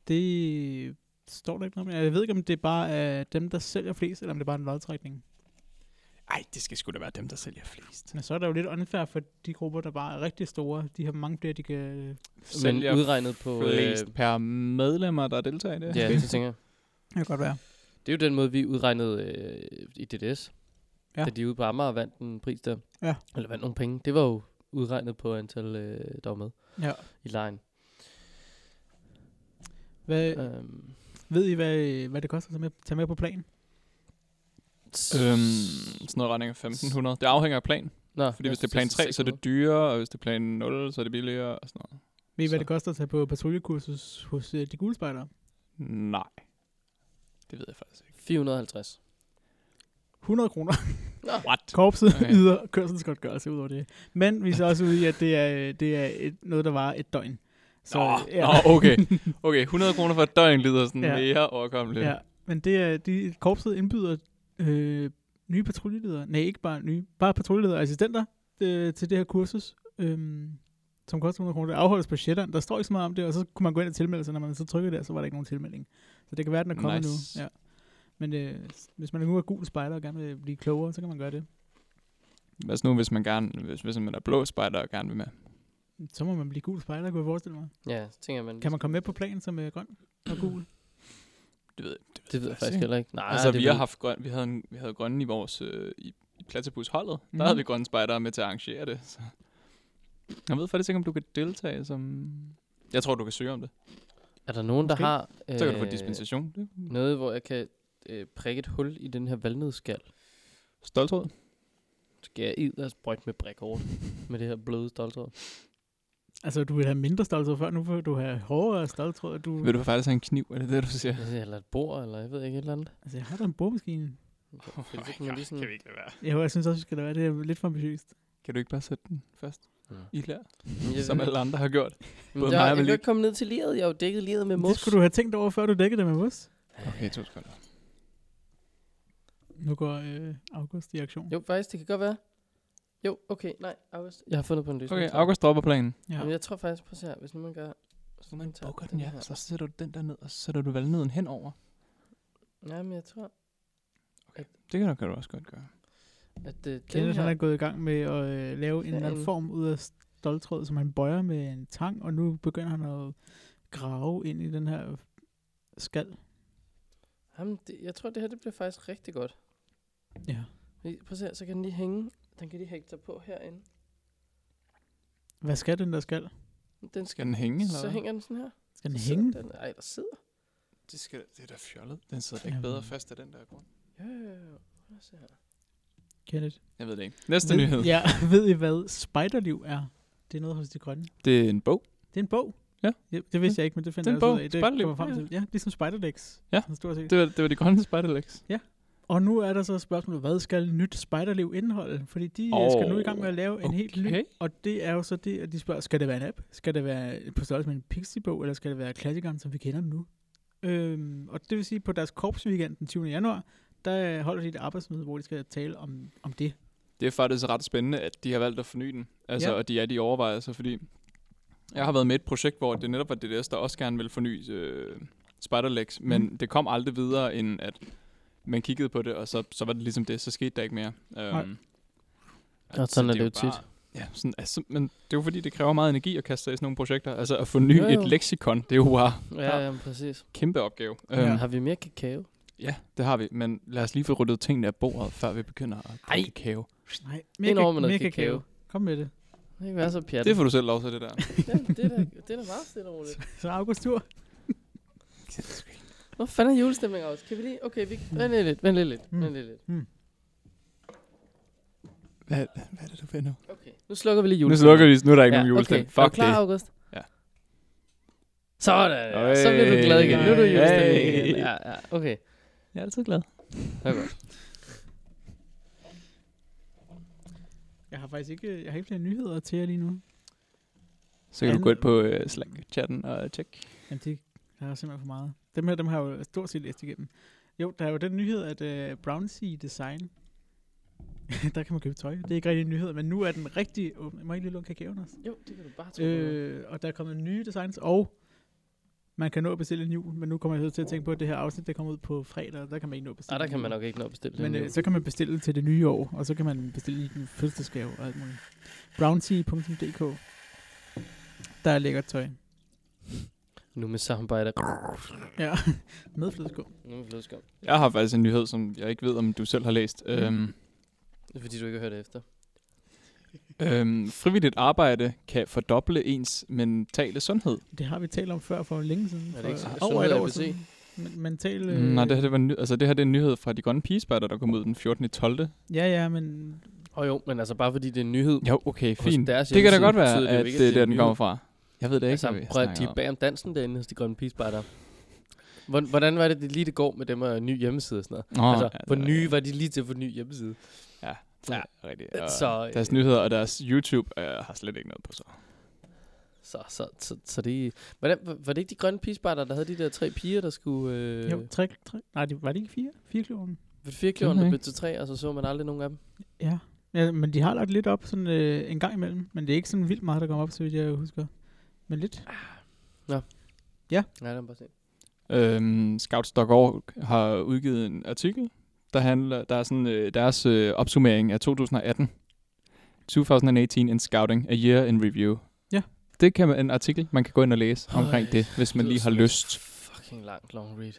det står der ikke noget med. Jeg ved ikke, om det bare er dem, der sælger flest, eller om det bare er en lodtrækning. Nej, det skal sgu da være dem, der sælger flest. Men så er det jo lidt unfair for de grupper, der bare er rigtig store. De har mange flere, de kan... Men udregnet på... øh, flest per medlemmer, der deltager i det. ja, det tænker jeg. Det kan godt være. Det er jo den måde, vi udregnede øh, i DDS. Ja. Ja. Da de ude på Amager vandt en pris der. Ja. Eller vandt nogle penge. Det var jo udregnet på antal, øh, der var med Ja. i lejen. Hvad, Øh. Øhm, Ved I, hvad, hvad det koster at tage med, tage med på plan? Øhm, sådan noget regning af 1.500. Det afhænger af plan. Nå, Fordi jeg hvis det er synes, plan 3, så er det 600. dyrere, og hvis det er plan 0, så er det billigere og sådan noget. Ved I, hvad Så. det koster at tage på patruljekursus hos øh, de gule spejdere? Nej. Det ved jeg faktisk ikke. 450. 100 kroner. What? Korpset okay. Okay. yder kørselsgodtgørelse ud over det. Men vi er så også ude i, at det er, øh, det er et, noget, der varer et døgn. Så, Nå, øh, ja, nå, okay. Okay, 100 kroner for et døgn lyder sådan Ja. ja. mere overkommeligt. ja, men det er, de, korpset indbyder øh, nye patruljeledere. Nej, ikke bare nye. Bare patruljeledere og assistenter øh, til det her kursus. Øh, som koster 100 kroner. Det afholdes på Shetland. Der står ikke så meget om det, og så kunne man gå ind og tilmelde sig. Når man så trykkede der, så var der ikke nogen tilmelding. Så det kan være, den er kommet Nice. nu. Ja. Men øh, s- hvis man nu er gul spejder og gerne vil blive klogere, så kan man gøre det. Hvad så nu, hvis man, gerne, hvis, hvis man er blå spejder og gerne vil med? Så må man blive gul spejder, kunne jeg forestille mig. Ja, så tænker jeg, man. Kan man komme med på planen som øh, grøn og gul? Det ved jeg. det ved jeg faktisk faktisk ikke. heller ikke. Nej, altså, det vi har ved- haft grøn, vi havde, en, vi havde grønne i vores øh, i, i Platypus-holdet. Mm. Mhm. Der havde vi grønne spejdere med til at arrangere det. Så. Jeg ved faktisk ikke, om du kan deltage som... Jeg tror, du kan søge om det. Er der nogen, Måske. der har... øh, Så kan du få dispensation. Det- Noget, hvor jeg kan øh, prikke et hul i den her valnødskal. Stoltråd. Så skal jeg edder sprøjt med brik over det, med det her bløde stoltråd. Altså, du vil have mindre stoltråd før, nu vil du have hårdere stoltråd. og Du... Vil du faktisk have en kniv? Er det det, du siger? Eller et bord, eller jeg ved ikke, et eller andet. Altså, jeg har da en boremaskine. Oh Fordi så kan man lige sådan- ikke lade være. Jeg, jeg synes også, vi skal da være det er lidt for ambitiøst. Kan du ikke bare sætte den først Mm. i lær, Men jeg- som alle andre har gjort? Men Både jeg, mig og jeg kan Malik. ikke komme ned til liret. Jeg har jo dækket liret med mos. Det skulle du have tænkt over, før du dækkede det med mos. Okay, to sekunder. nu Nu går øh, August i aktion. Jo, faktisk, det kan godt være. Jo, okay, nej, August. Jeg har fundet på en løsning. Okay, August dropper planen. Ja. Ja. Men jeg tror faktisk, prøv at se her, hvis nu man gør... Hvis nu tager her. sætter du den der ned, og så sætter du valgneden henover. Nej, men jeg tror, Det kan du, kan du også godt gøre. at øh, den Kenneth han er her... gået i gang med at øh, lave en Ja, eller anden en- form ud af stoltråd, som han bøjer med en tang, og nu begynder han at grave ind i den her skal. Jamen, det, jeg tror, det her det bliver faktisk rigtig godt. Ja. Fordi, Prøv at se her, så kan den lige hænge. Den kan lige hænge sig på herinde. Hvad skal den der skal? Den skal, Skal den hænge, eller så hænger den sådan her. Skal den Så sidder hænge? Den, ej, der sidder. Det, skal, det er da fjollet. Den sidder da ikke bedre Jamen. fast af den der grund. Jo, jo, jo, jo. Prøv at se her. Kenneth. Jeg ved det ikke. Næste nyhed. Ja, ved I hvad spiderliv er? Det er noget hos de grønne. Det er en bog. Det er en bog. Ja. Det vidste jeg ikke, men det finder Det er en jeg også ud bog. af. Det Spejderliv. kommer frem Ja, til. Ja, ligesom Spiderlex. Ja. Sådan Stort set. Det var, det var de grønne spejderlægs. Og nu er der så spørgsmålet, hvad skal nyt Spiderliv indeholde? Fordi de oh, skal nu i gang med at lave en helt ny. okay. Og det er jo så det, at de spørger, skal det være en app? Skal det være på størrelse med en Pixie-bog, eller skal det være klassikeren, som vi kender den nu? Øhm, og det vil sige, at på deres korpsweekend den 20. januar, der øh, holder de et arbejdsmøde, hvor de skal tale om, om det. det er faktisk ret spændende, at de har valgt at forny den. Altså, Ja. ja. og de er de overvejelser, fordi jeg har været med i et projekt, hvor det netop var DDS, der også gerne ville forny øh, Spiderlegs, men Mm. mm. det kom aldrig videre, end at man kiggede på det, og så, så var det ligesom det, så skete der ikke mere. Nej. Øhm, Og sådan er jo det jo bare- Ja, sådan, altså, men det er jo fordi, det kræver meget energi at kaste sig i sådan nogle projekter. Altså at forny Jo, jo, jo. jo. et leksikon, det er jo bare Ja, ja, men præcis. kæmpe opgave. Ja. Ja. Ja. Øhm, Har vi mere kakao? ja, det har vi, men lad os lige få ryddet tingene af bordet, før vi begynder at Ej. drikke kakao. Nej, Ind over med noget mega kakao. Kom med det. Det kan ikke være så pjattet. Det får du selv lov til, det der. ja, det, er da, det er da meget stille og roligt. Så August tur. Hvor fanden er julestemning også? Kan vi lige... Okay, vi... Vent lige lidt, vent lige lidt, Mm. vent lige lidt. Hvad, hvad er det, du finder? Okay, nu slukker vi lige Nu julestemningen. slukker vi, nu er der ikke ja, nogen julestem. Okay. Okay. Er du Fuck klar, det. August? Ja. Sådan, ja. så bliver du glad igen. Nu er du i Hey. julestemning igen. Ja, ja, okay. Jeg er altid glad. Det er godt. Jeg har faktisk ikke, jeg har ikke flere nyheder til jer lige nu. Så kan du gå ind på uh, Slack-chatten og tjekke. Jamen, det der er simpelthen for meget. Dem her, dem har jeg jo stort set læst igennem. Jo, der er jo den nyhed, at uh, Brownsea Design, der kan man købe tøj. Det er ikke rigtig en nyhed, men nu er den rigtig åben. Må jeg ikke lige låne kakaoen også? Jo, det kan du bare tro. Øh. Øh, og der er kommet nye designs, og man kan nå at bestille en jul, men nu kommer jeg til at tænke på, at det her afsnit, der kommer ud på fredag, og der kan man ikke nå at bestille Ah, der en kan jul. man nok ikke nå at bestille Men det. øh, så kan man bestille til det nye år, og så kan man bestille i den fødselsdagsgave og alt muligt. Brownsea.dk Der er lækkert tøj. Nu med samarbejde. Ja, med flødeskum. Nu med flødeskum. Jeg har faktisk en nyhed, som jeg ikke ved, om du selv har læst. Mm. Øhm, Det er fordi, du ikke har hørt efter. øhm, frivilligt arbejde kan fordoble ens mentale sundhed. Det har vi talt om før for længe siden. Er det ikke for sådan- over sundhed, et jeg år vil se? siden. Men, mental, Øh. Nej, det her, det, var en ny- altså, det her det er en nyhed fra de grønne pigespatter, der kom ud den 14. 12. øh, Ja, ja, men... Og jo, men altså bare fordi det er en nyhed. Jo, okay, Og hos fint. deres Det kan da hjemmeside godt være, betyder det jo at ikke, det at er det er der, en den kommer fra. Jeg ved det ikke, hvad Altså, vi prøv at de snakker er om. bag om dansen derinde hos de grønne pigespejdere. Hvor- Hvordan var det, det lige det går med dem og ny hjemmeside og sådan noget? Nå, altså, ja, hvor det er nye var de lige til at få ny hjemmeside? Ja, rigtigt. Og Så, øh, deres nyheder og deres YouTube øh, har slet ikke noget på sig. Så, så, så, så det... Hvordan, var- var det ikke de grønne pigespejdere, der havde de der tre piger, der skulle... Øh, Øh. Jo, tre, tre, nej, det, var det ikke fire? Fire kloven? Ved firkløveren, Det ved der jeg blev til tre, og så så man aldrig nogen af dem. Ja. ja. men de har lagt lidt op sådan øh, en gang imellem. Men det er ikke sådan vildt meget, der kommer op, så vidt jeg husker. Men lidt. Nej, det er bare set. Øhm, Scouts.org har udgivet en artikel, der handler der er sådan øh, deres øh, opsummering af 2018. 2018 in Scouting, a year in review. Ja. Det kan man, en artikel, man kan gå ind og læse Øj, omkring det, hvis man lyder lige har som et lyst. Fucking langt long read.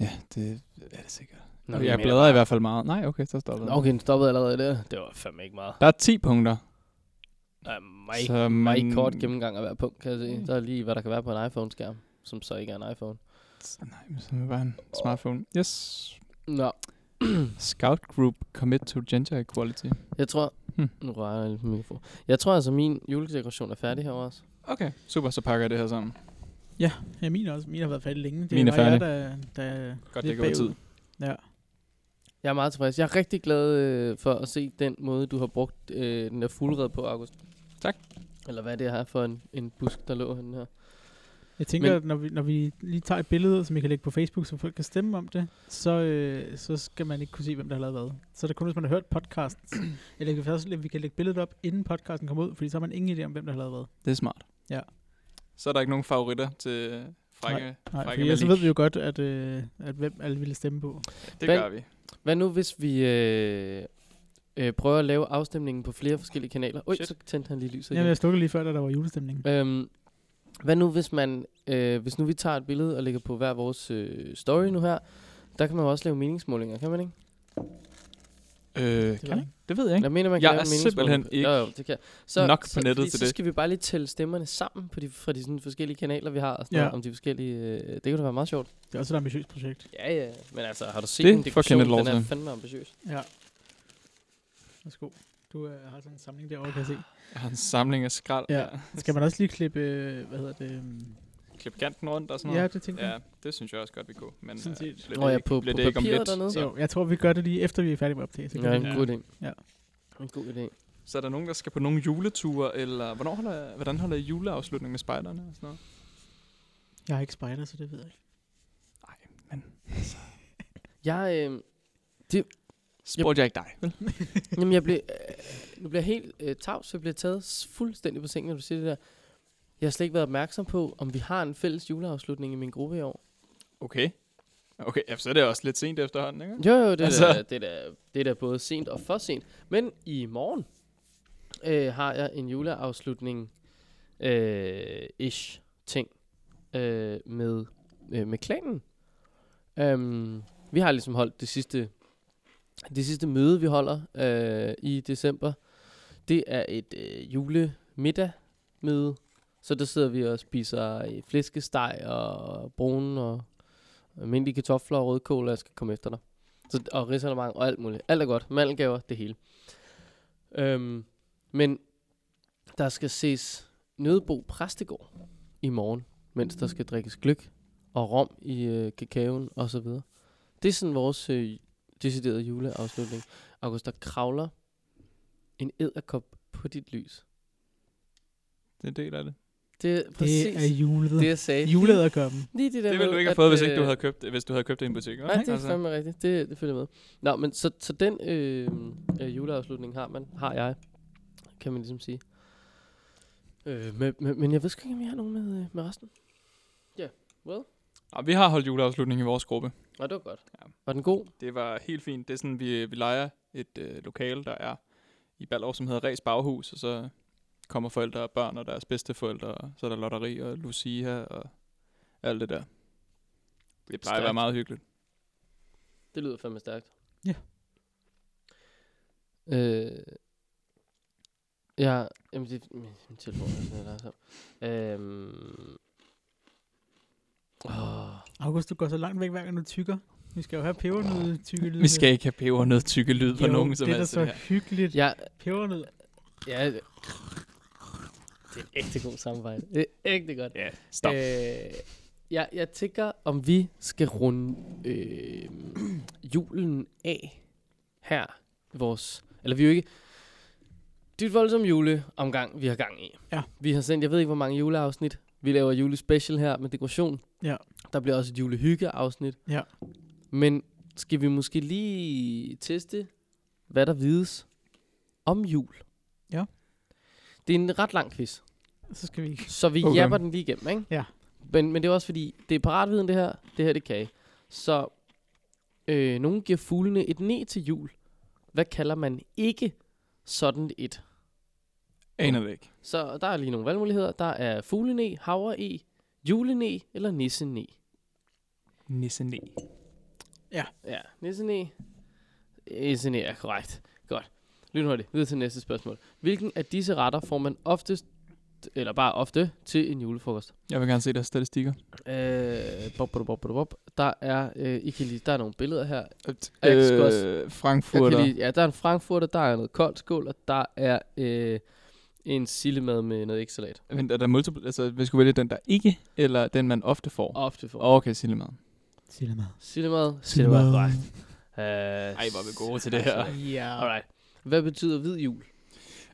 Ja, det er det sikkert. Nå, jeg bladrer i hvert fald meget. Nej, okay, så stopper Okay, den stoppede allerede der. Det var fandme ikke meget. Der er 10 punkter. Der er meget, så meget man- kort gennemgang af hver punkt, kan jeg se. Mm. Der er lige, hvad der kan være på en iPhone-skærm, som så ikke er en iPhone. Nej, men så er det bare en smartphone. Yes. Nå, Scout Group Commit to Gender Equality. jeg tror... Hmm. Nu rører jeg lidt på mikrofonen. Jeg tror altså, min juledekoration er færdig her også. Okay, super, så pakker jeg det her sammen. Ja, min, er også, min har været færdig længe. Det Min er var jeg, færdig. der, der Godt, lidt det går i bagud. tid. Ja. Jeg er meget tilfreds. Jeg er rigtig glad øh, for at se den måde, du har brugt øh, den der fuldred på, August. Tak. Eller hvad det er her for en, en busk, der lå henne her. Jeg tænker, Men- men, at når vi, når vi lige tager et billede, som vi kan lægge på Facebook, så folk kan stemme om det, så, øh, så skal man ikke kunne se, hvem der har lavet hvad. Så er det kun, hvis man har hørt podcasten. Eller vi kan faktisk, vi kan lægge billedet op, inden podcasten kommer ud, fordi så har man ingen idé om, hvem der har lavet hvad. Det er smart. Ja. Så er der ikke nogen favoritter til frække, Nej, frække fordi ellers så Malik. ved vi jo godt, at, øh, at hvem alle ville stemme på. Det Hvad- gør Øh, vi. Hvad nu, hvis vi øh, øh, prøver at lave afstemningen på flere forskellige kanaler? Ui, Shit. så tændte han lige lyset Jamen, igen. jeg slukkede lige før, da der var julestemning. Øhm, hvad nu, hvis man, øh, hvis nu vi tager et billede og lægger på hver vores øh, story nu her, der kan man jo også lave meningsmålinger, kan man ikke? Øh, kan man? Det ved jeg Jeg mener, man kan Jeg lave er en meningsmåling simpelthen på- ikke jo, jo, det kan. nok på nettet fordi til så det. skal vi bare lige tælle stemmerne sammen på de, fra de sådan, forskellige kanaler, vi har, og sådan Ja. ja. noget, om de forskellige... Øh, det kunne da være meget sjovt. Det er også et ambitiøst projekt. Ja, ja. Men altså, har du set Det den får dekoration? Kenneth lov Den er til. fandme ambitiøs. Ja. Værsgo. Du øh, har sådan en samling derovre, kan jeg se. Jeg har en samling af skrald. Ja. Skal man også lige klippe, øh, hvad hedder det? øhm, Klip kanten rundt og sådan Ja, noget. det tænker jeg. Ja, det synes jeg også godt, vi kunne. Men Sådan øh, set. bliver Nå det ja, ikke- på- bliver på det ikke om papiret lidt, dernede, Så, Jo, jeg tror, vi gør det lige efter, vi er færdige med optagelsen. Ja, en Ja. god idé. Ja. En god idé. så er der nogen, der skal på nogle juleture, eller hvornår holder, hvordan holder I juleafslutning med spejderne og sådan noget? Jeg er ikke spejder, så det ved jeg ikke. Jeg, øh, det, spurgte jeg ikke dig. vel? Jamen, jeg blev, øh, nu bliver jeg helt øh, tavs, så jeg bliver taget s- fuldstændig på sengen, når du siger det der. Jeg har slet ikke været opmærksom på, om vi har en fælles juleafslutning i min gruppe i år. Okay. Okay, ja, så er det også lidt sent efterhånden, ikke? Jo, jo, det, altså. Altså. er, da- det, er, da- det er da både sent og for sent. Men i morgen øh, har jeg en juleafslutning øh, ish ting øh, med, øh, med klanen. Um, vi har ligesom holdt det sidste, det sidste møde, vi holder øh, i december. Det er et øh, julemiddagmøde. Så der sidder vi og spiser øh, flæskesteg og brune og almindelige kartofler og rødkål, og jeg skal komme efter dig. Så, og risalemang og alt muligt. Alt er godt. Mandelgaver, det hele. Øhm, men der skal ses Nødebo Præstegård i morgen, mens der skal drikkes gløk og rom i øh, kakaoen og så videre. Det er sådan vores øh, deciderede juleafslutning. August, der kravler en æderkop på dit lys. Det er en del af det. Det er præcis Det er det, julet. det jeg sagde. Julederkøben. Lige det, der Det ville med, du ikke at, have fået, hvis øh, ikke du havde købt, hvis du havde købt det i en butik. Altså. Nej, det er altså- fandme rigtigt. Det, det følger med. Nå, men så, så den øh, øh, juleafslutning har man, har jeg, kan man ligesom sige. Øh, med, med, men jeg ved sgu ikke, om jeg har nogen med, øh, med resten. Og vi har holdt juleafslutning i vores gruppe. Nej, det var godt. Ja. Ja. Var den god? Det var helt fint. Det er sådan, vi, vi leger et øh, lokale, der er i Ballerup, som hedder Ræs Baghus, og så kommer forældre og børn og deres bedsteforældre, og så er der lotteri og Lucia og alt det der. Det plejer at være Stærkt. meget hyggeligt. Det lyder fandme stærkt. Ja. Øh, ja, jamen det min, min telefon er sådan noget, der er så. Øhm, åh, August, du går så langt væk, hver gang du tykker. Vi skal jo have pebernød tykke lyde. Vi skal ikke have peber noget tykke lyd på nogen som det er da helst. så det her. hyggeligt. Ja. jeg, Pebernød. Ja, det det er ægte god samarbejde. Det er ægte godt. Ja, stop. Øh, jeg, jeg tænker, om vi skal runde øh, julen af her. Vores, eller vi er jo ikke... Det er et voldsomt juleomgang, vi har gang i. Ja. Vi har sendt, jeg ved ikke, hvor mange juleafsnit. Vi laver julespecial her med dekoration. Ja. Der bliver også et julehyggeafsnit. Ja. Men skal vi måske lige teste, hvad der vides om jul? Ja. Det er en ret lang quiz. Så skal vi ikke. Så vi Okay. okay. japper den lige igennem, ikke? Ja. Men, men det er også fordi, det er paratviden det her. Det her, det kan I. Så øh, nogen giver fuglene et næ til jul. Hvad kalder man ikke sådan et? Aner det ikke. Så der er lige nogle valgmuligheder. Der er fuglene, havre julene eller nissene. Nisse ne. Ja, nissene. Nissene er korrekt. Godt. Lyt hurtigt. Videre til næste spørgsmål. Hvilken af disse retter får man oftest, eller bare ofte, til en julefrokost? Jeg vil gerne se deres statistikker. Øh, bop, bop, bop, bop, bop. Der er, øh, I kan lige, der er nogle billeder her. jeg skal også- Øh, Jeg kan Frankfurter. lige, ja, der er en frankfurter, der er noget koldt skål, og der er øh, en sillemad med noget ægsalat. Vent, er der multiple? Altså, vi skulle vælge den, der ikke, eller den, man ofte får? Ofte for. Og Okay, Sillemad. Sig det meget. sillemad. Sillemad. Right. Øh, Ej, hvor er vi gode til det her. Ja. Alright. Hvad betyder hvid jul?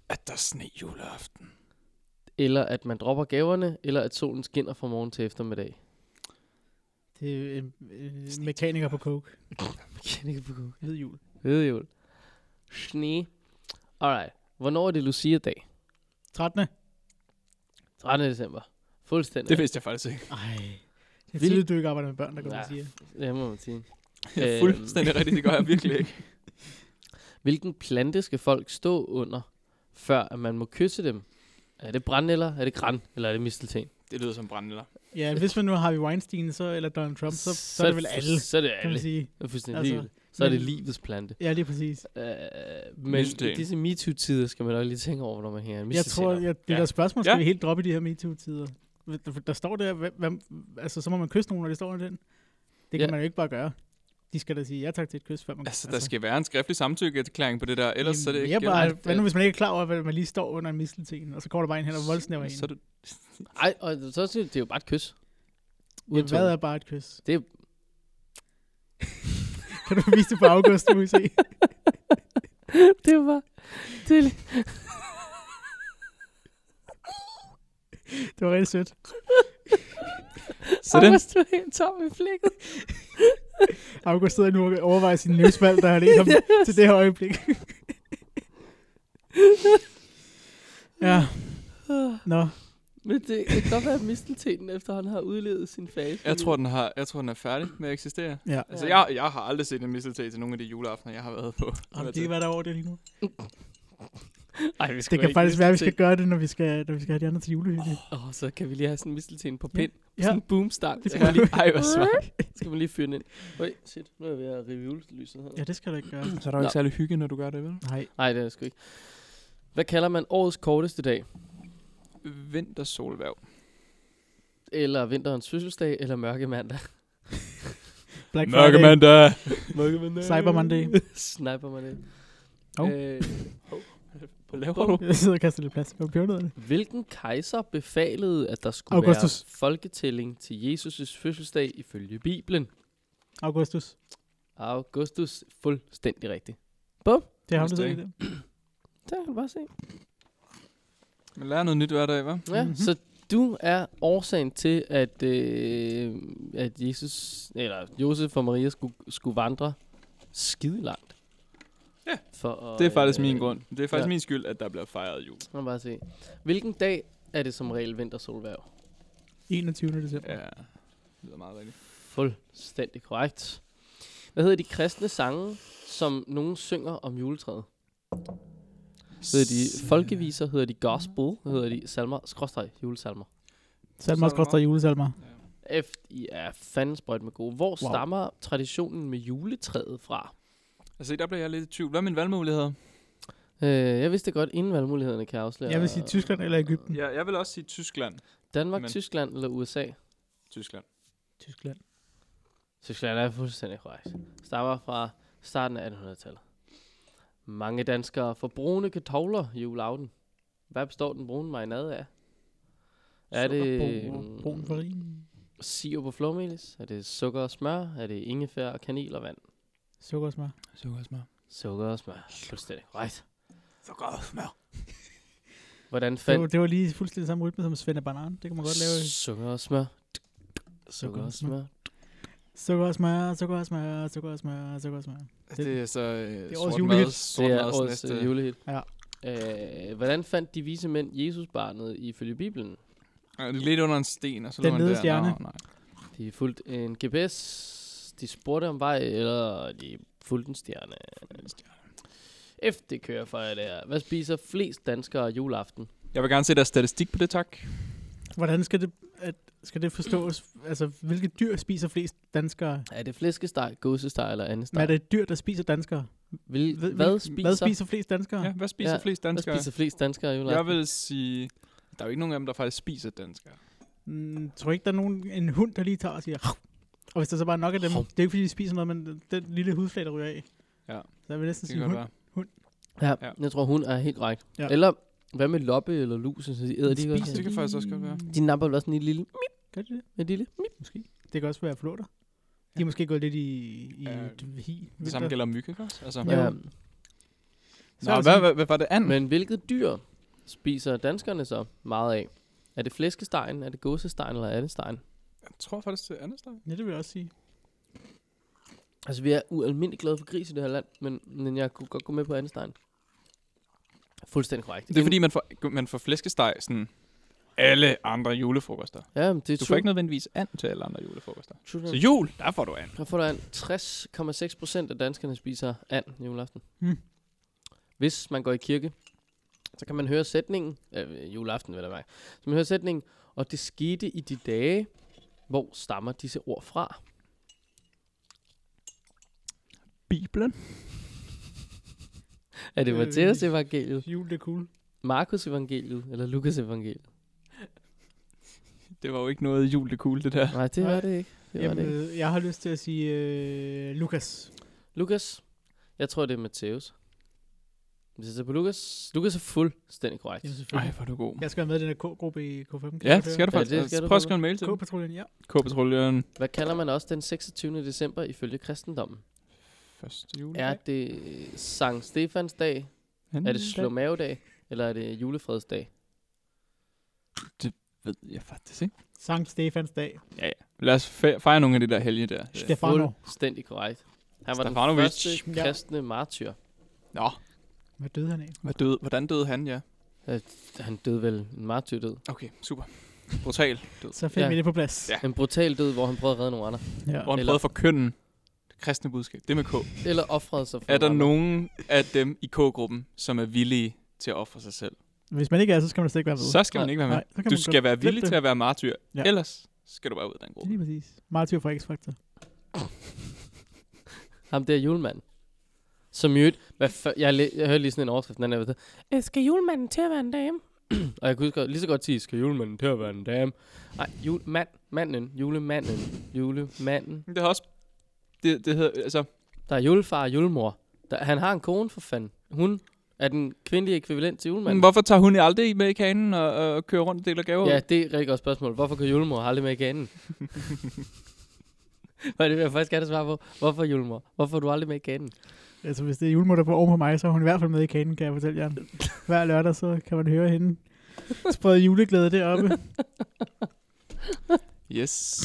At der er sne juleaften. Eller at man dropper gaverne, eller at solen skinner fra morgen til eftermiddag. Det er en øh, mekaniker på coke. Hvid jul. Hvid jul. Sne. Alright. Hvornår er det Lucia-dag? 13. 13. december. Fuldstændig. Det vidste jeg faktisk ikke. Ej. Det er Vild- tidligt, du ikke arbejder med børn, der går Nej. og siger. det må man sige. Det er Øhm. fuldstændig rigtigt, det gør jeg virkelig ikke. Hvilken plante skal folk stå under, før at man må kysse dem? Er det brændenælder, er det græn, eller er det mistelten? Det lyder som brændeller. Ja, hvis man nu har Harvey Weinstein så, eller Donald Trump, så, så, så er det vel alle, Så er det kan alle. man sige. Det er fuldstændig Altså, altså, Så er det men- livets plante. Ja, lige præcis. Uh, men i Mistelten. disse MeToo-tider skal man nok lige tænke over, når man her en Jeg tror, jeg... at det Ja. der spørgsmål skal Ja. vi helt droppe i de her MeToo-tider. Der- Der står der, hvem, hvem- altså så må man kysse nogen, når de står under den. Det kan Ja. man jo ikke bare gøre. De skal da sige ja tak til et kys, før man Altså, der skal være en skriftlig samtykkeerklæring på det der, ellers så er det Jamen, ikke... Altså, jeg bare, gældende. hvad nu, hvis man ikke er klar over, at man lige står under en mistelten, og så kommer der bare en hen og voldsnæver en. Så er det... Ej, og så er det, det er jo bare et kys. Ja, Uden hvad tunge. er bare et kys? Det er- kan du vise det på august, du vil se? det var... Det er li- Det var rigtig sødt. Så den, August, du er helt tom i flækket. August sidder nu og overvejer sin livsvalg, der har ledt ham til det her øjeblik. ja, nå. Men det, det kan godt være, at misteltenen efterhånden har udlevet sin fase. Jeg tror, den har, jeg tror, den er færdig med at eksistere. Ja. Altså, Ja. jeg, jeg har aldrig set en misteltag til nogle af de juleaftener, jeg har været på. Altså, Jamen, de kan være der over det lige nu. Ej, vi skal Det kan faktisk være, at vi skal gøre det, når vi skal, når vi skal have de andre til julehygge. Åh, oh, så kan vi lige have sådan en mistelten på Ja. pind. Ja. Ja. Sådan en boomstang. Det Så skal kan man vi. lige, Ej, hvor svært. skal man lige fyre den ind. Øj, shit. Nu er jeg ved at rive julelyset her. Ja, det skal du ikke gøre. Så er der jo ikke særlig hygge, når du gør det, vel? Nej. Nej, det er det sgu ikke. Hvad kalder man årets korteste dag? Vintersolværv. Eller vinterens fødselsdag? Eller mørke mandag? Black Mørke Friday. mandag! mørke mandag. Cyber Monday. Sniper mandag. Hov. Øh, Hvad laver du? Jeg sidder og kaster lidt plastik på bjørnerne. hvilken kejser befalede, at der skulle Augustus. være folketælling til Jesus' fødselsdag ifølge Bibelen? Augustus. Augustus. Fuldstændig rigtigt. Det har du Fødselsdag. det. Der kan du bare se. Man lærer noget nyt hver dag, hva'? Ja, mm-hmm. Mhm. så du er årsagen til, at, øh, at Jesus, eller Josef og Maria skulle, skulle vandre skide langt. Ja, for at, Det er faktisk min grund. Det er faktisk ja. min skyld, at der bliver fejret jul. Man bare se. Hvilken dag er det som regel vintersolværv? 21. december. Ja, det lyder meget rigtigt. Fuldstændig korrekt. Hvad hedder de kristne sange, som nogen synger om juletræet? Hedder de folkeviser, hedder de gospel, hedder de salmer, skråstrej, julesalmer. Salmer skal også julesalmer. F, I er fanden sprøjt med gode. Hvor wow. stammer traditionen med juletræet fra? Altså, der bliver jeg lidt i tvivl. Hvad er mine valgmuligheder? Øh, jeg vidste godt, inden valgmulighederne kan jeg afsløre. Jeg vil sige Tyskland eller Ægypten. Ja, jeg vil også sige Tyskland. Danmark, men- Tyskland eller USA? Tyskland. Tyskland. Tyskland er fuldstændig korrekt. Stammer fra starten af 1800-tallet. Mange danskere får brune kartofler i juleaften. Hvad består den brune marinade af? Er det Brun- Brun farin. sirup og flormelis? Er det sukker og smør? Er det ingefær og kanel og vand? Sukker og smør. Sukkersmør. Sukker og smør. Fuldstændig korrekt. Sukkersmør. Hvordan fandt Det var, det var lige fuldstændig samme rytme som Svend Banan. Det kan man godt lave. Sukker og smør. Sukker Sukker og og smør. Sukker og smør, sukker og smør, sukker og smør, sukker og smør. Det er så øh, er årets sort julehit. mad. Sort Det er mads årets næste. øh, julehit. Ja. Øh, hvordan fandt de vise mænd Jesusbarnet ifølge Bibelen? Ja, det er lidt under en sten, og så Den lå han nede der. stjerne. Nå, nej. De fulgte en GPS. De spurgte om vej, eller de fulgte en stjerne. F, det kører for jer der. Hvad spiser flest danskere juleaften? Jeg vil gerne se deres statistik på det, tak. Hvordan skal det, at, skal det forstås? Altså, hvilke dyr spiser flest danskere? Er det flæskesteg, gåsesteg eller andet Men er steg? det et dyr, der spiser danskere? Vil, Ved- hvad, hvil- spiser, Hvad spiser flest danskere? Ja, hvad spiser Ja, ja, flest hvad danskere? spiser flest danskere Jeg juleaften? vil sige, der er jo ikke nogen af dem, der faktisk spiser danskere. Mm, tror ikke, der er nogen, en hund, der lige tager og siger, "Hav." og hvis der så bare er nok af dem, Hav. det er ikke fordi, de spiser noget, men den lille hudflade, der ryger af, Ja. så jeg vil næsten Det kan sige godt hund. være. Ja, Ja. jeg tror, hun er helt korrekt. Ja. Eller hvad med loppe eller lus? Så de æder de ikke Spiser også? det kan faktisk også godt være. De napper vel også en lille, Gør de det? en lille Måske. Det kan også være flåter. De er måske gået lidt i, i Ja, et hi. Det samme gælder om myg, ikke også? Altså, Jo. Ja. Så er Nå, der hvad, sådan- hvad, hvad var det andet? Men hvilket dyr spiser danskerne så meget af? Er det flæskestegen, er det gåsestegen eller andestegen? Jeg tror faktisk, det er andet Ja, det vil jeg også sige. Altså, vi er ualmindeligt glade for gris i det her land, men, men jeg kunne godt gå med på andestegen. Fuldstændig korrekt. Det er fordi, man får, man får flæskesteg sådan alle andre julefrokoster. Ja, men det er Du får ikke nødvendigvis and til alle andre julefrokoster. noget. Så jul, der får du and. Der får du an. 60,6 procent af danskerne spiser and i juleaften. Hmm. Hvis man går i kirke, så kan man høre sætningen, øh, juleaften vil jeg mærke, så man hører sætningen, og det skete i de dage, hvor stammer disse ord fra? Bibelen. Er det Øh, Matteus evangeliet, Jul, det er cool. Markus evangeliet eller Lukas evangeliet? Det var jo ikke noget jul, det cool, det der. Nej, det Nej. var det ikke. Det var Jamen, det ikke. øh, jeg har lyst til at sige øh, Lukas. Lukas, jeg tror, det er Matteus. Hvis jeg ser på Lukas, Lukas er fuldstændig korrekt. Jamen, Nej, selvfølgelig. hvor er du god. Jeg skal være med i den her K-gruppe i K5. Kan Ja, du det høre? skal du Ja, faktisk. det Ja, skal du Prøv at skrive en mail til K-patruljen, ja. K-patruljen. Hvad kalder man også den 26. december ifølge kristendommen? Første jule. Er det Sankt Stefans dag? Er det slåmavedag? Eller er det julefredsdag? Ved jeg faktisk ikke. Sankt Stefans dag. Ja, ja. Lad os fe- fejre nogle af de der helge der. Øh, Stefano. Fuldstændig korrekt. Han var den Stefanovic. første Ja. kristne martyr. Nå, Hvad døde han af? hvad døde, hvordan døde han, ja? Han døde vel en martyrdød. Okay, super. Brutal død. Så fik Ja. vi det på plads. Ja. En brutal død, hvor han prøvede at redde nogle andre. Ja. Hvor han Eller- prøvede at forkynde det kristne budskab. Det med K. Eller offrede sig for Er der nogle nogen af dem i K-gruppen, som er villige til at ofre sig selv? Hvis man ikke er, så skal man slet ikke være ved. Så skal man Nej, ikke være med. Nej, så kan Du man skal godt være flytte villig det. til at være martyr. Ja. Ellers skal du bare ud af den gruppe. Lige præcis. Martyr fra X-Factor. andre. Ham der julemanden. Som i øvrigt, hvad for, jeg, læ- jeg hørte lige sådan en overskrift, den anden der, Øh, skal julemanden til at være en dame? og jeg kunne huske, lige så godt sige, skal julemanden til at være en dame? Nej, julemand, manden, julemanden, julemanden. Men Det har også... Det, det hedder, altså, Der er julefar og julemor. Der, han har en kone for fanden. Hun er den kvindelige ekvivalent til men julemanden. hvorfor tager hun aldrig med i kanen og, og kører rundt og deler gaver? Ja, det er et rigtig godt spørgsmål. Hvorfor kan julemor aldrig med i kanen? Hvad det vil jeg faktisk gerne svare på. Hvorfor julemor? Hvoror er du aldrig med i kanen? Altså, hvis det er julemutter på oven på mig, så er hun i hvert fald med i kanen, kan jeg fortælle jer. Hver lørdag, så kan man høre hende sprede juleglæde deroppe. Yes.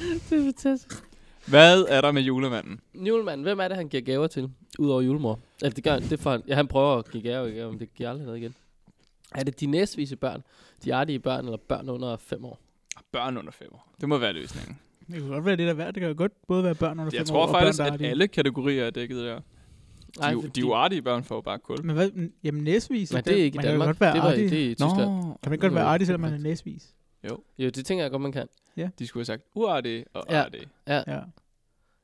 Det er fantastisk. Hvad er der med julemanden? Julemanden, hvem er det, han giver gaver til? Udover julemor. Altså, det gør det for han. Ja, han prøver at give gaver, gaver, men det giver aldrig noget igen. Er det de næstvise børn? De artige børn, eller børn under 5 år? Børn under 5 år. Det må være løsningen. Det kunne godt være lidt af hvert. Det kan jo godt både være børn under Jeg fem tror år faktisk, og børn, der at er alle kategorier er dækket der. Nej, De, jo- de fordi- jo artige børn får jo bare kul. Men hvad? Jamen næsvis. Nej, det er ikke i man kan jo Danmark. Godt være det, var, artig. det er i Tyskland. Kan man ikke godt være Nå, artig, selvom man er næsvis? Jo, det tænker jeg godt, man kan. de skulle have sagt uartige og Ja. artige. Ja.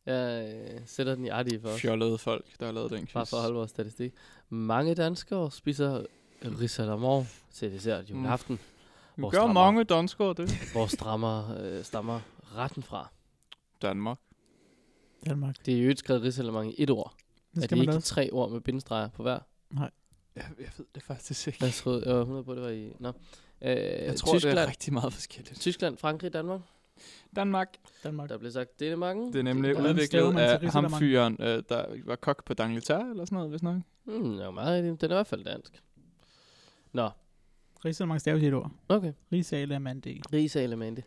Jeg øh, sætter den i artige for os. Fjollede folk, der har lavet den quiz. Bare for at holde vores statistik. Mange danskere spiser risalamande til Mm. dessert juleaften. Nu vores Gør strammer. mange danskere det. Hvor strammer, øh, stammer retten fra? Danmark. Danmark. Det er jo ikke skrevet risalamande i et ord. Det er skal det man ikke også. tre ord med bindestreger på hver? Jeg, jeg ved det faktisk ikke. Jeg troede, jeg var 100 på, det var i... Nå. Øh, Jeg tror, Tyskland, det er rigtig meget forskelligt. Tyskland, Frankrig, Danmark. Danmark. Danmark. Der blev sagt Dänemarken. Det er nemlig Danmark. staver udviklet man til af ham Risalamande? fyren, øh, der var kok på Dangleterre eller sådan noget, hvis nok. Hmm, det er jo meget rigtigt. Den er i hvert fald dansk. Nå, Risalamande staves i et ord. okay. Risalamande. Risalamande.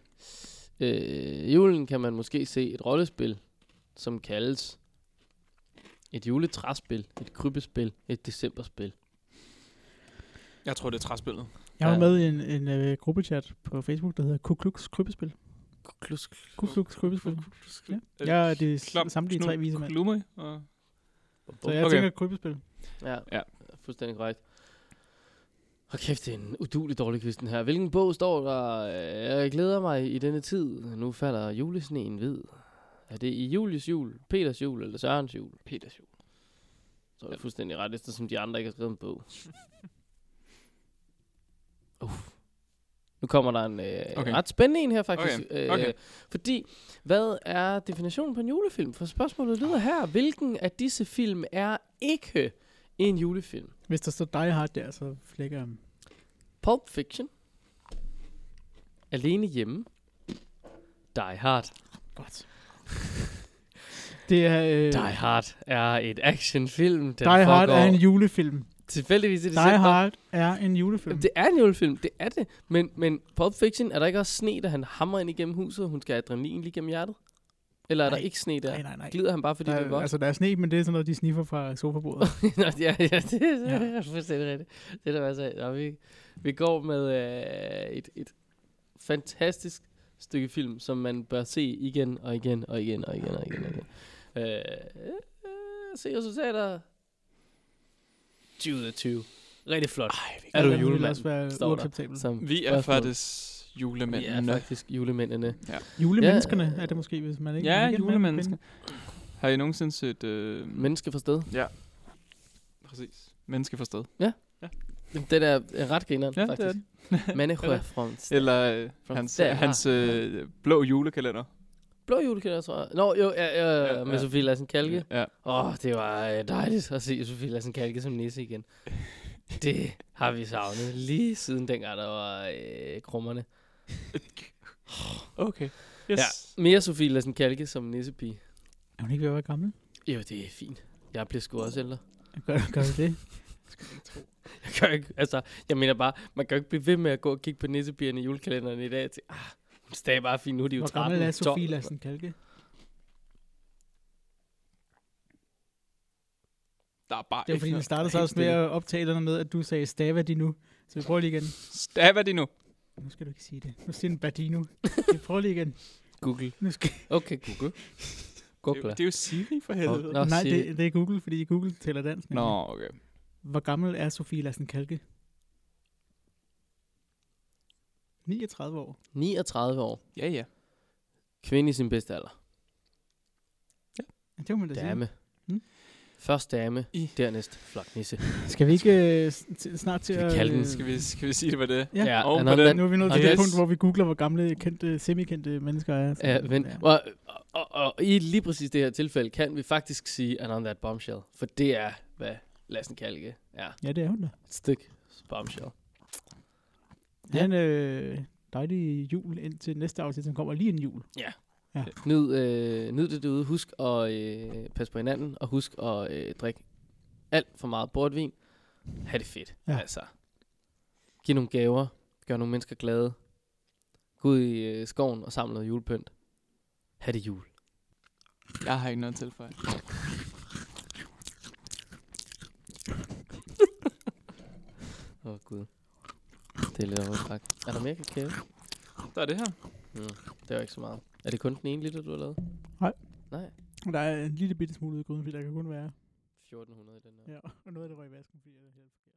Øh, I julen kan man måske se et rollespil, som kaldes et juletræspil, et krybespil, et decemberspil. Jeg tror, det er træspillet. Jeg var Ja. med i en, en øh, gruppechat på Facebook, der hedder Ku Klux Krybespil. Klusk. Ku Klux Krybespil. Ja. øh, Jeg er de s- samtlige tre vise mænd. Klumme og Så jeg Okay. tænker krybespil. Ja, ja. Ja. fuldstændig korrekt. Og kæft, det er en udulig dårlig quiz, den her. Hvilken bog står der? øh, Jeg glæder mig i denne tid. Nu falder julesneen ved. Er det i Julies jul, Peters jul eller Sørens jul? Peters jul. Så er det fuldstændig ret, eftersom de andre ikke har skrevet en bog. Uff. Nu kommer der en øh, okay. Okay. ret spændende en her, faktisk. Okay, okay. Øh, fordi, hvad er definitionen på en julefilm? For spørgsmålet lyder her, hvilken af disse film er ikke en julefilm? Hvis der står Die Hard der, så flækker jeg dem. Pulp Fiction. Alene hjemme. Die Hard. Godt. Det er... Øh, Die Hard er et actionfilm, den Die Hard foregår er en julefilm. tilfældigvis i december. Die Hard er en julefilm. Jamen, det er en julefilm, det er det. Men, men Pulp Fiction, er der ikke også sne, da han hammer ind igennem huset, og hun skal have adrenalin lige gennem hjertet? Eller er der Nej. ikke sne der? Nej, nej, nej. Glider han bare, fordi Der, det er er- godt? altså, der er sne, men det er sådan noget, de sniffer fra sofabordet. Nå, ja, ja, det er Ja. ja. fuldstændig rigtigt. Det er der altså, og vi, vi går med øh, et, et fantastisk stykke film, som man bør se igen og igen og igen og igen og igen. Og igen. Øh, øh, se resultater. 2020. Rigtig flot. Er du Det vil julemand? også være Står der. uacceptabelt. Som Vi er Spørgsmål. faktisk men, vi er julemændene. faktisk julemændene. Julemenneskerne Ja. er det måske, hvis man ikke... man Ja, ikke er mand, julemennesker. Har I nogensinde set... Øh, Menneske for sted. præcis. Menneske for sted. Den er øh, ret grineren, Ja, det faktisk. er Manager fra Eller øh, Fra hans, der. hans øh, blå julekalender. Blå julekalender, tror jeg. Nå, jo, ja, ja, Ja, Øh, med ja. Sofie Lassen Kalke. Ja. Åh, oh, det var øh, dejligt at se Sofie Lassen Kalke som nisse igen. Det har vi savnet lige siden dengang, der var øh, krummerne. Okay. Yes. Ja, mere Sofie Lassen Kalke som nissepige. Er hun ikke ved at være gammel? Jo, det er fint. Jeg bliver sgu også ældre. Gør, gør vi det? Jeg, kan jo ikke, altså, jeg mener bare, man kan jo ikke blive ved med at gå og kigge på nissebierne i julekalenderen i dag til, ah, Det er stadig bare fint. Nu er de jo Hvor 13. gammel er 12. Sofie Lassen Kalke? Der er bare Det var fordi, vi startede så også med at optage den med, at du sagde, stava de nu. Så vi prøver lige igen. Stav de nu. Nu skal du ikke sige det. Nu siger den Badino. Vi prøver lige igen. Google. Nu skal... Okay, Google. Det er, jo- Google. det er jo Siri for helvede. Nå, Nej, sig det, det, er Google, fordi Google tæller dansk. Nå, nemlig. okay. Hvor gammel er Sofie Lassen Kalke? 39 år. 39 år. Ja, ja. Kvinde i sin bedste alder. Ja, Det må man da sige. Dame. Hmm? Først dame, I- dernæst floknisse. Skal vi ikke øh, s- t- snart til Skal at... vi kalde den? øh, Skal vi, skal vi sige, det var det? Ja. ja og han på har den- den- Nu er vi nået og til det det- punkt, hvor vi googler, hvor gamle kendte, semikendte mennesker er. Så- Ja, men, og, og, og, og i lige præcis det her tilfælde kan vi faktisk sige, and on that bombshell. For det er, hvad Lassen Kalke er. Ja, det er hun da. Et stykke bombshell. Ja. Han øh, dejlig jul indtil næste afsnit, som kommer lige en jul. Nyd, øh, nyd det derude. Husk at øh, passe på hinanden, og husk at øh, drikke alt for meget portvin. Ha' det fedt. Ja. Ja. Altså. Giv nogle gaver. Gør nogle mennesker glade. Gå ud i øh, skoven og samle noget julepynt. Ha' det jul. Jeg har ikke noget til for Åh, oh, Gud. Det er lidt overtræk. Er der mere kakao? Der er det her. Det var ikke så meget. Er det kun den ene liter, du har lavet? Der er en lille bitte smule ude i gryden, fordi der kan kun være... 1400 i den her. Ja, og noget af det var i vasken, fordi jeg havde